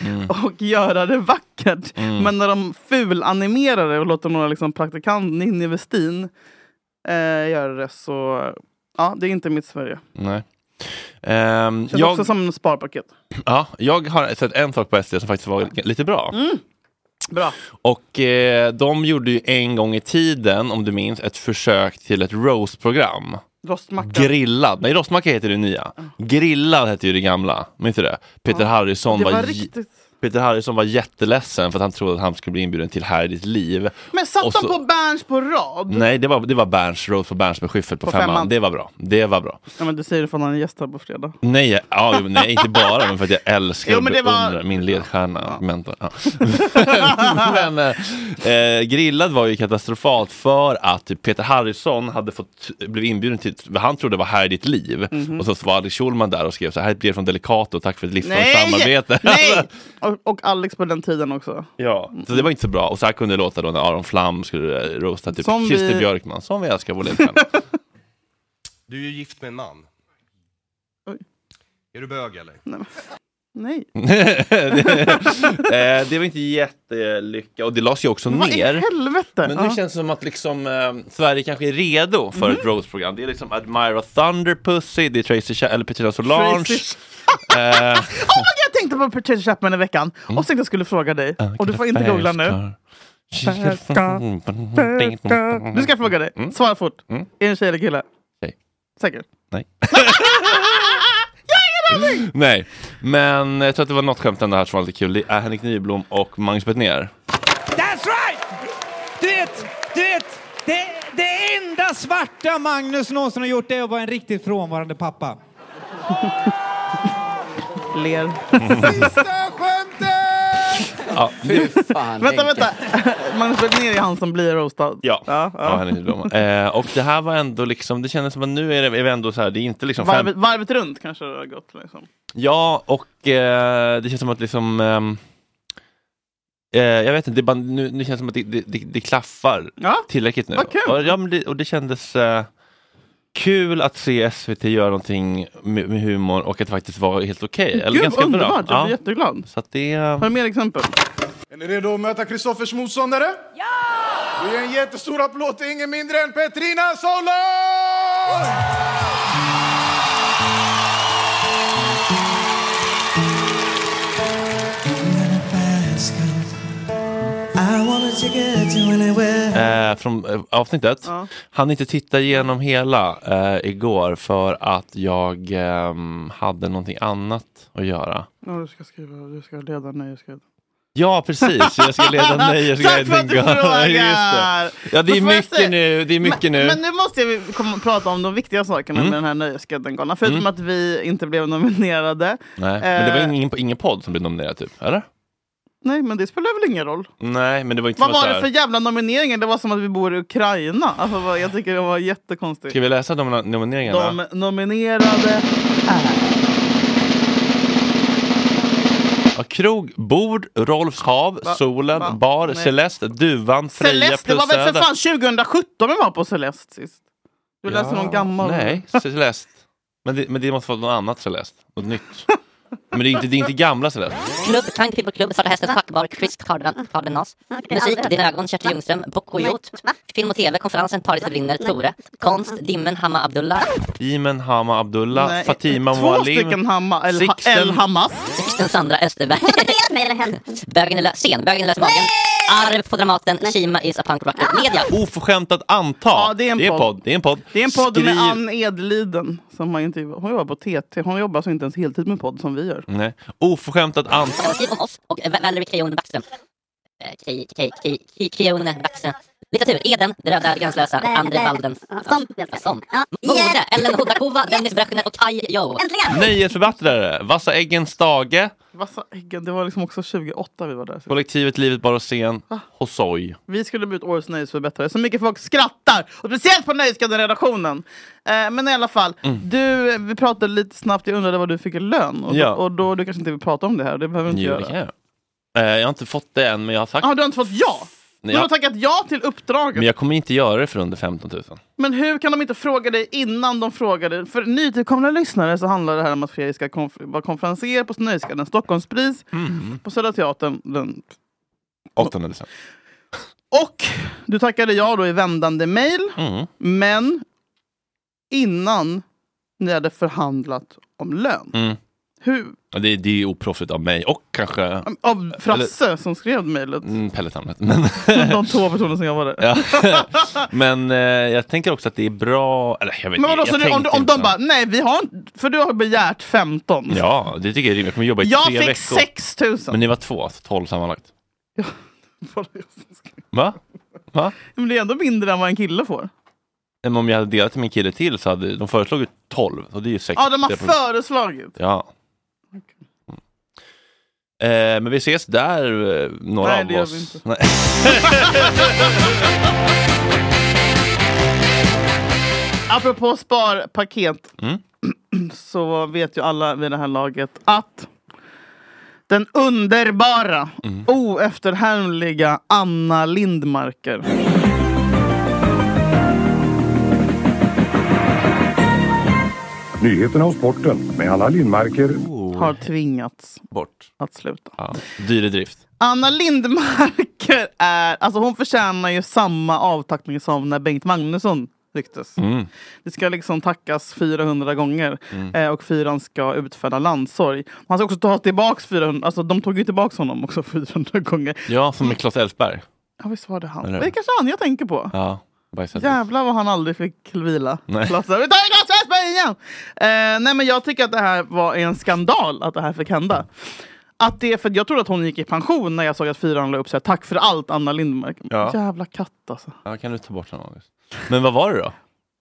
Speaker 3: Mm.
Speaker 2: (laughs) och göra det vackert.
Speaker 1: Mm.
Speaker 2: Men när de fulanimerar det och låter några liksom, praktikant, Ninni Westin, eh, göra det så... Ja, det är inte mitt Sverige.
Speaker 3: Nej. Ehm,
Speaker 2: Känns också som sparpaket.
Speaker 3: Ja, jag har sett en sak på SD som faktiskt var lite bra.
Speaker 2: Mm. Bra.
Speaker 3: Och eh, de gjorde ju en gång i tiden, om du minns, ett försök till ett roast-program.
Speaker 2: Rostmacka.
Speaker 3: Grillad, nej rostmacka heter det nya. Grillad hette ju det gamla, minns du det? Peter Harrison
Speaker 2: det var,
Speaker 3: var, j-
Speaker 2: riktigt...
Speaker 3: Peter Harrison var jätteledsen för att han trodde att han skulle bli inbjuden till Här i ditt liv.
Speaker 2: Men satt
Speaker 3: Och
Speaker 2: de
Speaker 3: så- Mm.
Speaker 2: på Berns på rad?
Speaker 3: Nej, det var, det var Berns, Roast på Berns med Schyffert på,
Speaker 2: På
Speaker 3: femman.
Speaker 2: femman.
Speaker 3: Det var bra. Det var bra.
Speaker 2: Ja, men du säger det för att han är gäst här på fredag.
Speaker 3: Nej, jag- ja, jo, nej inte bara, men för
Speaker 2: (laughs)
Speaker 3: att jag älskar
Speaker 2: Jo,
Speaker 3: och
Speaker 2: men det var-
Speaker 3: beundrar min ledstjärna och mentor.
Speaker 2: (laughs)
Speaker 3: Ja. men, eh, eh, grillad var ju katastrofalt för att typ Peter Harrison hade fått, blev inbjuden till vad han trodde var Här i ditt liv.
Speaker 2: Mhm.
Speaker 3: Och så var Alex Schulman där och skrev så här, här är ett brev från Delicato, tack för ett livslångt
Speaker 2: Nej!
Speaker 3: samarbete.
Speaker 2: (laughs) Nej! Och, och Alex på den tiden också.
Speaker 3: (laughs) Ja, så det var inte så bra. Och så här kunde det låta då när Aron Flam skulle eh, roasta typ
Speaker 2: Som
Speaker 3: Christer
Speaker 2: vi-
Speaker 3: Björkman, som vi älskar
Speaker 2: (laughs)
Speaker 3: vår ledstjärna. (laughs)
Speaker 17: Du är ju gift med en man.
Speaker 2: Oj.
Speaker 17: Är du bög eller?
Speaker 2: Nej.
Speaker 3: det, eh, det var inte jättelycka och det lades ju också
Speaker 2: Vad i
Speaker 3: ner.
Speaker 2: helvete?
Speaker 3: Men nu
Speaker 2: Ja. Mm.
Speaker 3: känns det som att liksom, eh, Sverige kanske är redo för ett Rose-program. Det är liksom Admira Thunderpussy, det är Tracy Cha- eller Petrina Solange.
Speaker 2: Tracy-
Speaker 3: (laughs) eh,
Speaker 2: Oh my God, jag tänkte på Patricia Chapman i veckan och
Speaker 3: Mm.
Speaker 2: tänkte jag skulle fråga dig. Och du får inte googla nu. Färska, färska. Nu ska jag fråga dig. Svara fort. Är det en tjej eller kille?
Speaker 3: Mm. Tjej.
Speaker 2: Säker?
Speaker 3: Nej.
Speaker 2: jag har ingen aning!
Speaker 3: Nej, men jag tror att det var något skämt ändå här som var lite kul. Det är Henrik Nyblom och Magnus Bettner.
Speaker 18: That's right! Du vet, du vet, det, det enda svarta Magnus någonsin har gjort är att vara en riktigt frånvarande pappa.
Speaker 2: Ler.
Speaker 3: Ja, det-
Speaker 2: (laughs) vänta, vänta. (laughs) Magnus Bettner är han som blir roastad.
Speaker 3: Ja,
Speaker 2: ja,
Speaker 3: Ja, Henrik Nyblom. Eh, och det här var ändå liksom, det kändes som att nu är, det, är vi ändå så här, det är inte liksom fem,
Speaker 2: Varvet, varvet runt kanske det har gått. Liksom.
Speaker 3: Ja, och eh, det känns som att liksom... ehm, eh, jag vet inte, det, är bara, nu, nu känns det som att det, det, det, det klaffar
Speaker 2: Ja,
Speaker 3: tillräckligt nu.
Speaker 2: vad kul.
Speaker 3: Och, ja, men det, och det kändes eh, kul att se SVT göra någonting med, med humor och att det faktiskt var helt okej. eller
Speaker 2: Gud,
Speaker 3: ganska
Speaker 2: vad underbart.
Speaker 3: Bra.
Speaker 2: Jag blir jätteglad.
Speaker 3: Så att det... eh,
Speaker 2: Har du mer exempel?
Speaker 19: Är ni redo att möta Kristoffers motståndare? Ja! Vi ger en jättestor applåd till ingen mindre än Petrina Solange!
Speaker 14: I wanna take it to anywhere.
Speaker 3: Eh, från eh, avsnittet.
Speaker 14: Ja.
Speaker 3: Han inte titta igenom hela eh, igår för att jag ehm, hade någonting annat att göra.
Speaker 2: Ja, du ska skriva, du ska leda, nej, jag ska...
Speaker 3: Ja, precis. Jag
Speaker 2: (laughs)
Speaker 3: ska leda nej. Jag (laughs) ska
Speaker 2: Tack för att du
Speaker 3: tänka.
Speaker 2: frågar!
Speaker 3: Just det. Ja, det är
Speaker 2: Men får jag säga-
Speaker 3: mycket nu. Det är mycket
Speaker 2: men,
Speaker 3: nu.
Speaker 2: Men nu måste vi komma och prata om de viktiga sakerna
Speaker 3: Mm.
Speaker 2: med den här Nöjesguiden-galan. Förutom
Speaker 3: Mm.
Speaker 2: att vi inte blev nominerade.
Speaker 3: Nej, men det
Speaker 2: Eh,
Speaker 3: var ingen, ingen podd som blev nominerad, typ? Eller?
Speaker 2: nej, men det spelar väl ingen roll.
Speaker 3: Nej, men det var inte
Speaker 2: Vad
Speaker 3: som
Speaker 2: var
Speaker 3: att så
Speaker 2: det
Speaker 3: här-
Speaker 2: för jävla nomineringar? Det var som att vi bor i Ukraina. Alltså, vad- jag tycker det var jättekonstigt.
Speaker 3: Ska vi läsa nomina- nomineringarna?
Speaker 2: De nominerade...
Speaker 3: Ja, krog, bord, Rolfs hav,
Speaker 2: Va?
Speaker 3: solen,
Speaker 2: Va?
Speaker 3: bar,
Speaker 2: Nej.
Speaker 3: Celeste, duvan, Freja
Speaker 2: Celeste, det
Speaker 3: plus
Speaker 2: var väl för
Speaker 3: Söder.
Speaker 2: fan 2017 vi var på Celeste sist? Du läste någon gammal.
Speaker 3: Nej, Celeste. Men det, men det måste vara något annat Celeste. Något nytt. Men det är inte, det är inte gamla Celeste.
Speaker 20: Klubb, Tank, Pimmelklubb, Svarta Hästen, Schackbar, Chris Cardenas, Cardenas. Musik, Dina ögon, Kerstin Ljungström, Bock och Jot. Film och TV, Konferensen, Paris brinner, Tore. Konst, Dimmen, Hamma Abdullah.
Speaker 3: Iman Hama Abdullah,
Speaker 20: Nej,
Speaker 3: Fatima
Speaker 20: två
Speaker 3: Mualim.
Speaker 20: stycken Hama- El-
Speaker 3: Sixten-
Speaker 20: El
Speaker 2: Hamas.
Speaker 20: Sixten Sandra Österberg. Bögen i lö- Sen, Bögen i lösmagen. Arv på Dramaten, Kima is a punk rocket. Media.
Speaker 3: Oförskämtat anta. Ja,
Speaker 2: det är en podd.
Speaker 3: Det är en podd.
Speaker 2: Det är en podd med
Speaker 3: Skriv-
Speaker 2: Ann Edliden. Som har intervjuat. Hon jobbar på TT. Hon jobbar alltså inte ens heltid med podd som vi gör.
Speaker 3: Nej. Oförskämtat anta.
Speaker 20: Skriv om oss och Valerie Creon Backström. eh, Ki- Ki- Ki- Ki- Kione, Baxen. Litteratur, Eden, Det röda gränslösa,
Speaker 4: Vä-
Speaker 20: Andre
Speaker 4: vä-
Speaker 20: Waldens.
Speaker 4: Som.
Speaker 20: Som. Mode, Ellen Hodakova, Dennis Brechner och Kai Jo.
Speaker 3: Nyhetsförbättrare, Vassa Äggens Stage,
Speaker 2: Vassa äggen, det var liksom också 28 vi var där.
Speaker 3: Kollektivet Livet Bara Scen,
Speaker 2: Ah.
Speaker 3: Hosoj.
Speaker 2: Vi skulle bli ut årets nöjesförbättrare. Så mycket folk skrattar! Och speciellt på Nöjesguiden-redaktionen. Eh, men i alla fall,
Speaker 3: Mm.
Speaker 2: du, vi pratade lite snabbt. Jag undrade vad du fick i lön. Och,
Speaker 3: Ja.
Speaker 2: och då, du kanske inte vill prata om det här. Det behöver vi inte
Speaker 3: Jo, det kan
Speaker 2: göra.
Speaker 3: jag. Eh, Jag har inte fått det än, men jag har sagt
Speaker 2: Ah, du har inte fått ja?
Speaker 3: Nej,
Speaker 2: Du har
Speaker 3: jag-
Speaker 2: tackat ja till uppdraget.
Speaker 3: Men jag kommer inte göra det för under 15 000.
Speaker 2: Men hur kan de inte fråga dig innan de frågar dig? För nytillkomna lyssnare så handlar det här om att Fredrik ska konf- vara konferenser på Nöjesguiden Stockholmspris
Speaker 3: Mm.
Speaker 2: på Södra Teatern den
Speaker 3: 8 000.
Speaker 2: Och du tackade ja då i vändande mejl.
Speaker 3: Mm.
Speaker 2: Men innan ni hade förhandlat om lön.
Speaker 3: Mm.
Speaker 2: Hur,
Speaker 3: Ja, Det, det är oproffsigt av mig och
Speaker 2: Ah,
Speaker 3: kanske
Speaker 2: av Frasse som skrev mejlet.
Speaker 3: mm, Pelle Tamlet. Men,
Speaker 2: (laughs)
Speaker 3: (laughs)
Speaker 2: De två personer som jag var där.
Speaker 3: ja. men eh, jag tänker också att det är bra... Eller, jag vet,
Speaker 2: Men vadå,
Speaker 3: jag
Speaker 2: så det, om,
Speaker 3: tänkte
Speaker 2: om
Speaker 3: inte.
Speaker 2: de bara, nej vi har inte- för du har begärt 15.
Speaker 3: Ja, det tycker jag är rimligt. Jag kommer jobba i
Speaker 2: Jag
Speaker 3: tre
Speaker 2: fick
Speaker 3: veckor.
Speaker 2: 6 000.
Speaker 3: Men ni var två, så 12 sammanlagt.
Speaker 2: (laughs)
Speaker 3: Va? Va?
Speaker 2: Men det är ändå mindre än vad en kille får.
Speaker 3: Nej, Men om jag hade delat med min kille till så hade de föreslog ju 12. Så det är ju 6.
Speaker 2: Ja, de har föreslagit.
Speaker 3: Ja. Mm. Eh, men vi ses där, eh, några
Speaker 2: Nej,
Speaker 3: av
Speaker 2: det gör
Speaker 3: oss.
Speaker 2: vi inte.
Speaker 3: Nej.
Speaker 2: (laughs) Apropå sparpaket
Speaker 3: Mm.
Speaker 2: (clears throat) så vet ju alla vid det här laget att den underbara,
Speaker 3: Mm.
Speaker 2: oefterhärmliga Anna Lindmarker
Speaker 6: Nyheterna och sporten med Anna Lindmarker.
Speaker 2: har tvingats
Speaker 3: Bort.
Speaker 2: att sluta.
Speaker 3: Ja. Dyr i drift.
Speaker 2: Anna Lindmarker är, alltså hon förtjänar ju samma avtackning som när Bengt Magnusson rycktes.
Speaker 3: Mm.
Speaker 2: Det ska liksom tackas 400 gånger
Speaker 3: Mm.
Speaker 2: eh, och fyran ska utfärda landsorg. Han ska också ta tillbaks 400, alltså de tog ju tillbaks honom också 400 gånger.
Speaker 3: Ja, som med Claes Elfsberg.
Speaker 2: Ja visst var det han.
Speaker 3: Eller
Speaker 2: Men det
Speaker 3: hur?
Speaker 2: är kanske han jag tänker på.
Speaker 3: Ja, bajsat.
Speaker 2: Jävlar vad han aldrig fick vila.
Speaker 3: Nej.
Speaker 2: Plats där. Vi tar en Claes Elfsberg igen! Eh, nej men jag tycker att det här var en skandal att det här fick hända. Att det, för jag trodde att hon gick i pension när jag såg att fyran la upp så här, tack för allt Anna Lindmark.
Speaker 3: Ja.
Speaker 2: Jävla katt alltså.
Speaker 3: Ja, kan du ta bort honom? August? Men vad var det då?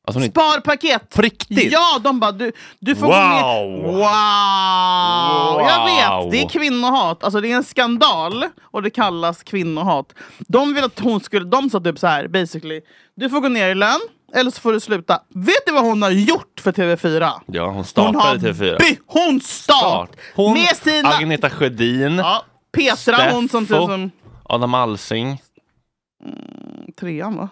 Speaker 3: Alltså, ni...
Speaker 2: Sparpaket! På
Speaker 3: riktigt?
Speaker 2: Ja, de bara du, du får
Speaker 3: Wow!
Speaker 2: gå med. Wow! Jag vet, det är kvinnohat. Alltså det är en skandal och det kallas kvinnohat. De vill att hon skulle, de sa typ så här basically. Du får gå ner i lön eller så får du sluta. Vet du vad hon har gjort för TV4?
Speaker 3: Ja, hon
Speaker 2: Hon har
Speaker 3: startade TV4.
Speaker 2: by- Hon start!
Speaker 3: Hon,
Speaker 2: med sina
Speaker 3: Agneta Sjödin.
Speaker 2: Petra, hon som
Speaker 3: Steffo,
Speaker 2: ser som
Speaker 3: Adam Alsing.
Speaker 2: trean va?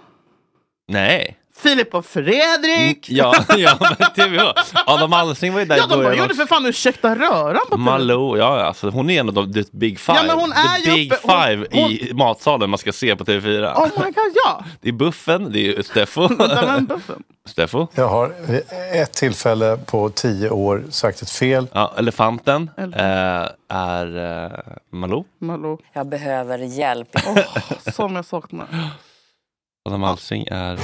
Speaker 3: Nej.
Speaker 2: Filip och Fredrik!
Speaker 3: Ja, (laughs) ja men TV4. Adam Alsing var ju där
Speaker 2: Ja,
Speaker 3: i
Speaker 2: de bara
Speaker 3: början.
Speaker 2: gjorde för fan ursäkta röran på TV4.
Speaker 3: Malou, ja ja, alltså, hon är en av de the big five.
Speaker 2: Ja, men hon är
Speaker 3: the
Speaker 2: ju
Speaker 3: big
Speaker 2: uppe- hon-
Speaker 3: five i matsalen man ska se på TV4.
Speaker 2: Oh my god, ja!
Speaker 3: Det är Buffen, det
Speaker 2: (laughs)
Speaker 3: är Steffo. (laughs) Steffo.
Speaker 7: Jag har vid ett tillfälle på tio år sagt ett fel.
Speaker 3: Ja, elefanten eh, är eh, Malou.
Speaker 2: Malou.
Speaker 8: Jag behöver hjälp.
Speaker 2: som jag saknar.
Speaker 3: Adam Alsing är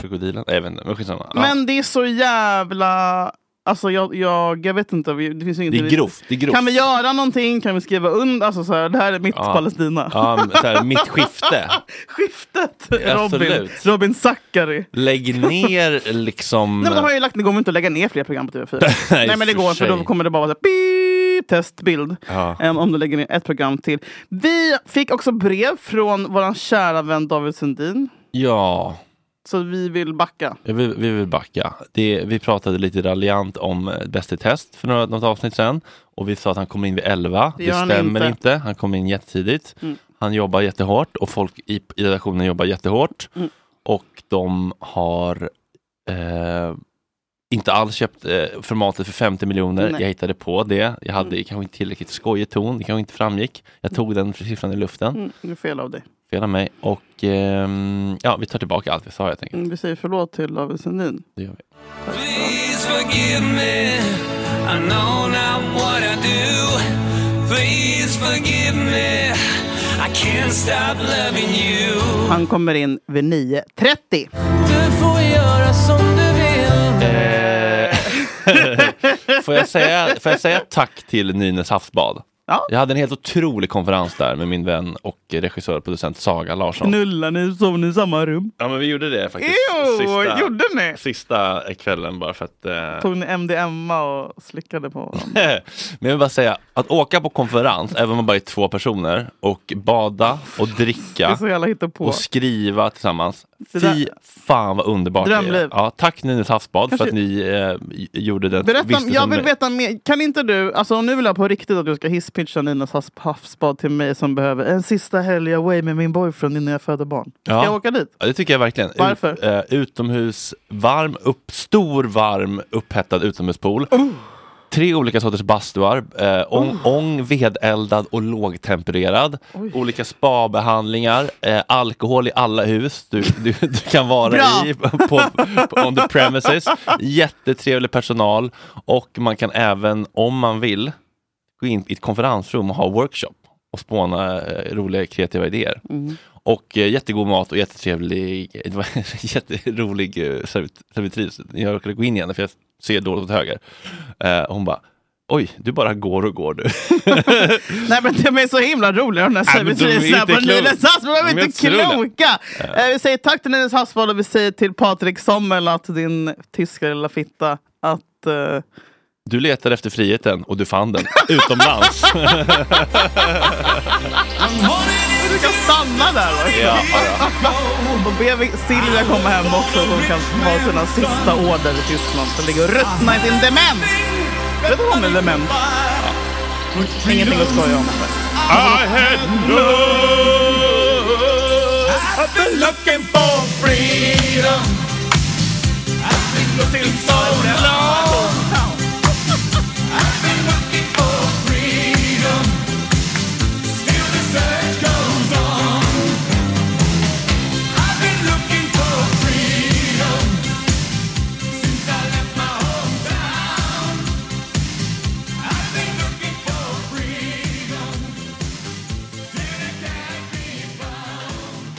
Speaker 3: krokodilen. Nej, jag vet inte, men skitsamma. Ja.
Speaker 2: Men det är så jävla... Alltså jag, jag, jag vet inte. vi- Det, finns ju
Speaker 3: Det
Speaker 2: inget
Speaker 3: är grovt, det är grovt.
Speaker 2: Kan vi göra någonting? Kan vi skriva under? Alltså så här, det här är mitt
Speaker 3: Ja.
Speaker 2: Palestina.
Speaker 3: Ja, men så här, mitt skifte.
Speaker 2: (laughs) Skiftet! Robin,
Speaker 3: Absolut.
Speaker 2: Robin Zackari.
Speaker 3: Lägg ner
Speaker 2: (laughs)
Speaker 3: liksom...
Speaker 2: Nej, men de har ju lagt, det går inte att lägga ner fler program på TV4.
Speaker 3: (laughs) Nej,
Speaker 2: Nej men det
Speaker 3: för
Speaker 2: går för då
Speaker 3: sig.
Speaker 2: kommer det bara vara så här, beep, testbild.
Speaker 3: Ja.
Speaker 2: Em, om du lägger ner ett program till. Vi fick också brev från vår kära vän David Sundin.
Speaker 3: ja.
Speaker 2: Så vi vill backa.
Speaker 3: Ja, Vi, vi vill backa. Det, vi pratade lite raljant om eh, Bäst i test för några, något avsnitt sen. Och vi sa att han kommer in vid 11.
Speaker 2: Det
Speaker 3: Det,
Speaker 2: gör han
Speaker 3: stämmer
Speaker 2: inte.
Speaker 3: inte. Han kommer in jättetidigt.
Speaker 2: Mm.
Speaker 3: Han jobbar jättehårt och folk i, i redaktionen jobbar jättehårt.
Speaker 2: Mm.
Speaker 3: Och de har eh, inte alls köpt eh, formatet för 50 miljoner.
Speaker 2: Nej. Mm.
Speaker 3: Jag hittade på det. Jag hade kanske inte tillräckligt skojig ton. Det kanske inte framgick. Jag tog den siffran i luften.
Speaker 2: Mm, det är fel av dig.
Speaker 3: Fel av mig. Och ehm, ja, vi tar tillbaka allt vi sa helt enkelt.
Speaker 2: Mm, Vi säger förlåt till David Sundin.
Speaker 3: Det gör vi.
Speaker 14: Please forgive me. I know not what I do. Please forgive me. I can't stop loving you.
Speaker 2: Han kommer in vid 9.30.
Speaker 14: Du får göra som du vill.
Speaker 3: Eh, får, jag säga, får jag säga tack till Nynäs havsbad? Jag hade en helt otrolig konferens där med min vän och regissör och producent Saga Larsson.
Speaker 2: Knullar ni, sov ni i samma rum?
Speaker 3: Ja, men vi gjorde det faktiskt.
Speaker 2: Ew, gjorde
Speaker 3: ni? Sista kvällen bara för att... eh,
Speaker 2: Tog ni MDMA och slickade på varandra?
Speaker 3: (laughs) Men jag vill bara säga, att åka på konferens, även om man bara är två personer, och bada och
Speaker 2: Det är
Speaker 3: dricka
Speaker 2: så jävla hittepå.
Speaker 3: och skriva tillsammans.
Speaker 2: Det där-
Speaker 3: Fy fan vad underbart det är.
Speaker 2: Drömliv.
Speaker 3: Ja, Tack Nynäs havsbad för att
Speaker 2: Kanske-
Speaker 3: ni eh, gjorde den
Speaker 2: Berätta, om-
Speaker 3: vistelsen
Speaker 2: jag
Speaker 3: med
Speaker 2: vill
Speaker 3: mig.
Speaker 2: veta mer. Kan inte du, alltså om nu vill jag på riktigt att du ska hisspitcha Ninas has- havsbad till mig som behöver en sista helg away med min boyfriend innan jag föder barn. Ska
Speaker 3: Ja.
Speaker 2: jag åka dit?
Speaker 3: Ja, det tycker jag verkligen.
Speaker 2: Varför?
Speaker 3: Ut, eh, utomhus, varm, upp, stor, varm, upphettad utomhuspool.
Speaker 2: Oh.
Speaker 3: Tre olika sorters bastuar, eh, ång, ång, vedeldad och lågtempererad.
Speaker 2: Oj.
Speaker 3: Olika spabehandlingar, eh, alkohol i alla hus du, du, du kan vara
Speaker 2: Bra!
Speaker 3: i på, på, on
Speaker 2: (laughs)
Speaker 3: the premises. Jättetrevlig personal och man kan även, om man vill, gå in i ett konferensrum och ha workshop och spåna eh, roliga kreativa idéer. Och eh, jättegod mat och jättetrevlig, (laughs) det var en jätterolig eh, servit- servitris. Jag råkade gå in igen för jag ser dåligt åt höger. Eh, hon bara, oj, du bara går och går du. (laughs)
Speaker 2: Nej men de är så himla roliga de där
Speaker 3: Nej, men de är
Speaker 2: servitriserna
Speaker 3: inte
Speaker 2: på
Speaker 3: kloka.
Speaker 2: Nynäs havsbad. De är inte
Speaker 3: otroliga.
Speaker 2: kloka! Eh, Vi säger tack till Nynäs havsbad och vi säger till Patrik Sommel att din tyska lilla fitta att eh,
Speaker 3: Du letar efter friheten och du fann den utomlands.
Speaker 2: Du kan stanna där också.
Speaker 3: Ja,
Speaker 2: (laughs) Och be vi- Silvia komma hem också så hon kan ha sina sista år där i Tyskland. Som ligger och ruttnar i sin demens. Vet du vad hon är dement? Ingenting att skoja om.
Speaker 3: I had
Speaker 6: love. I've been looking for freedom. I've been looking so long. I've been looking for freedom. Still the search goes on. I've been looking for freedom since I left my hometown. I've been looking for freedom. till it can't be found.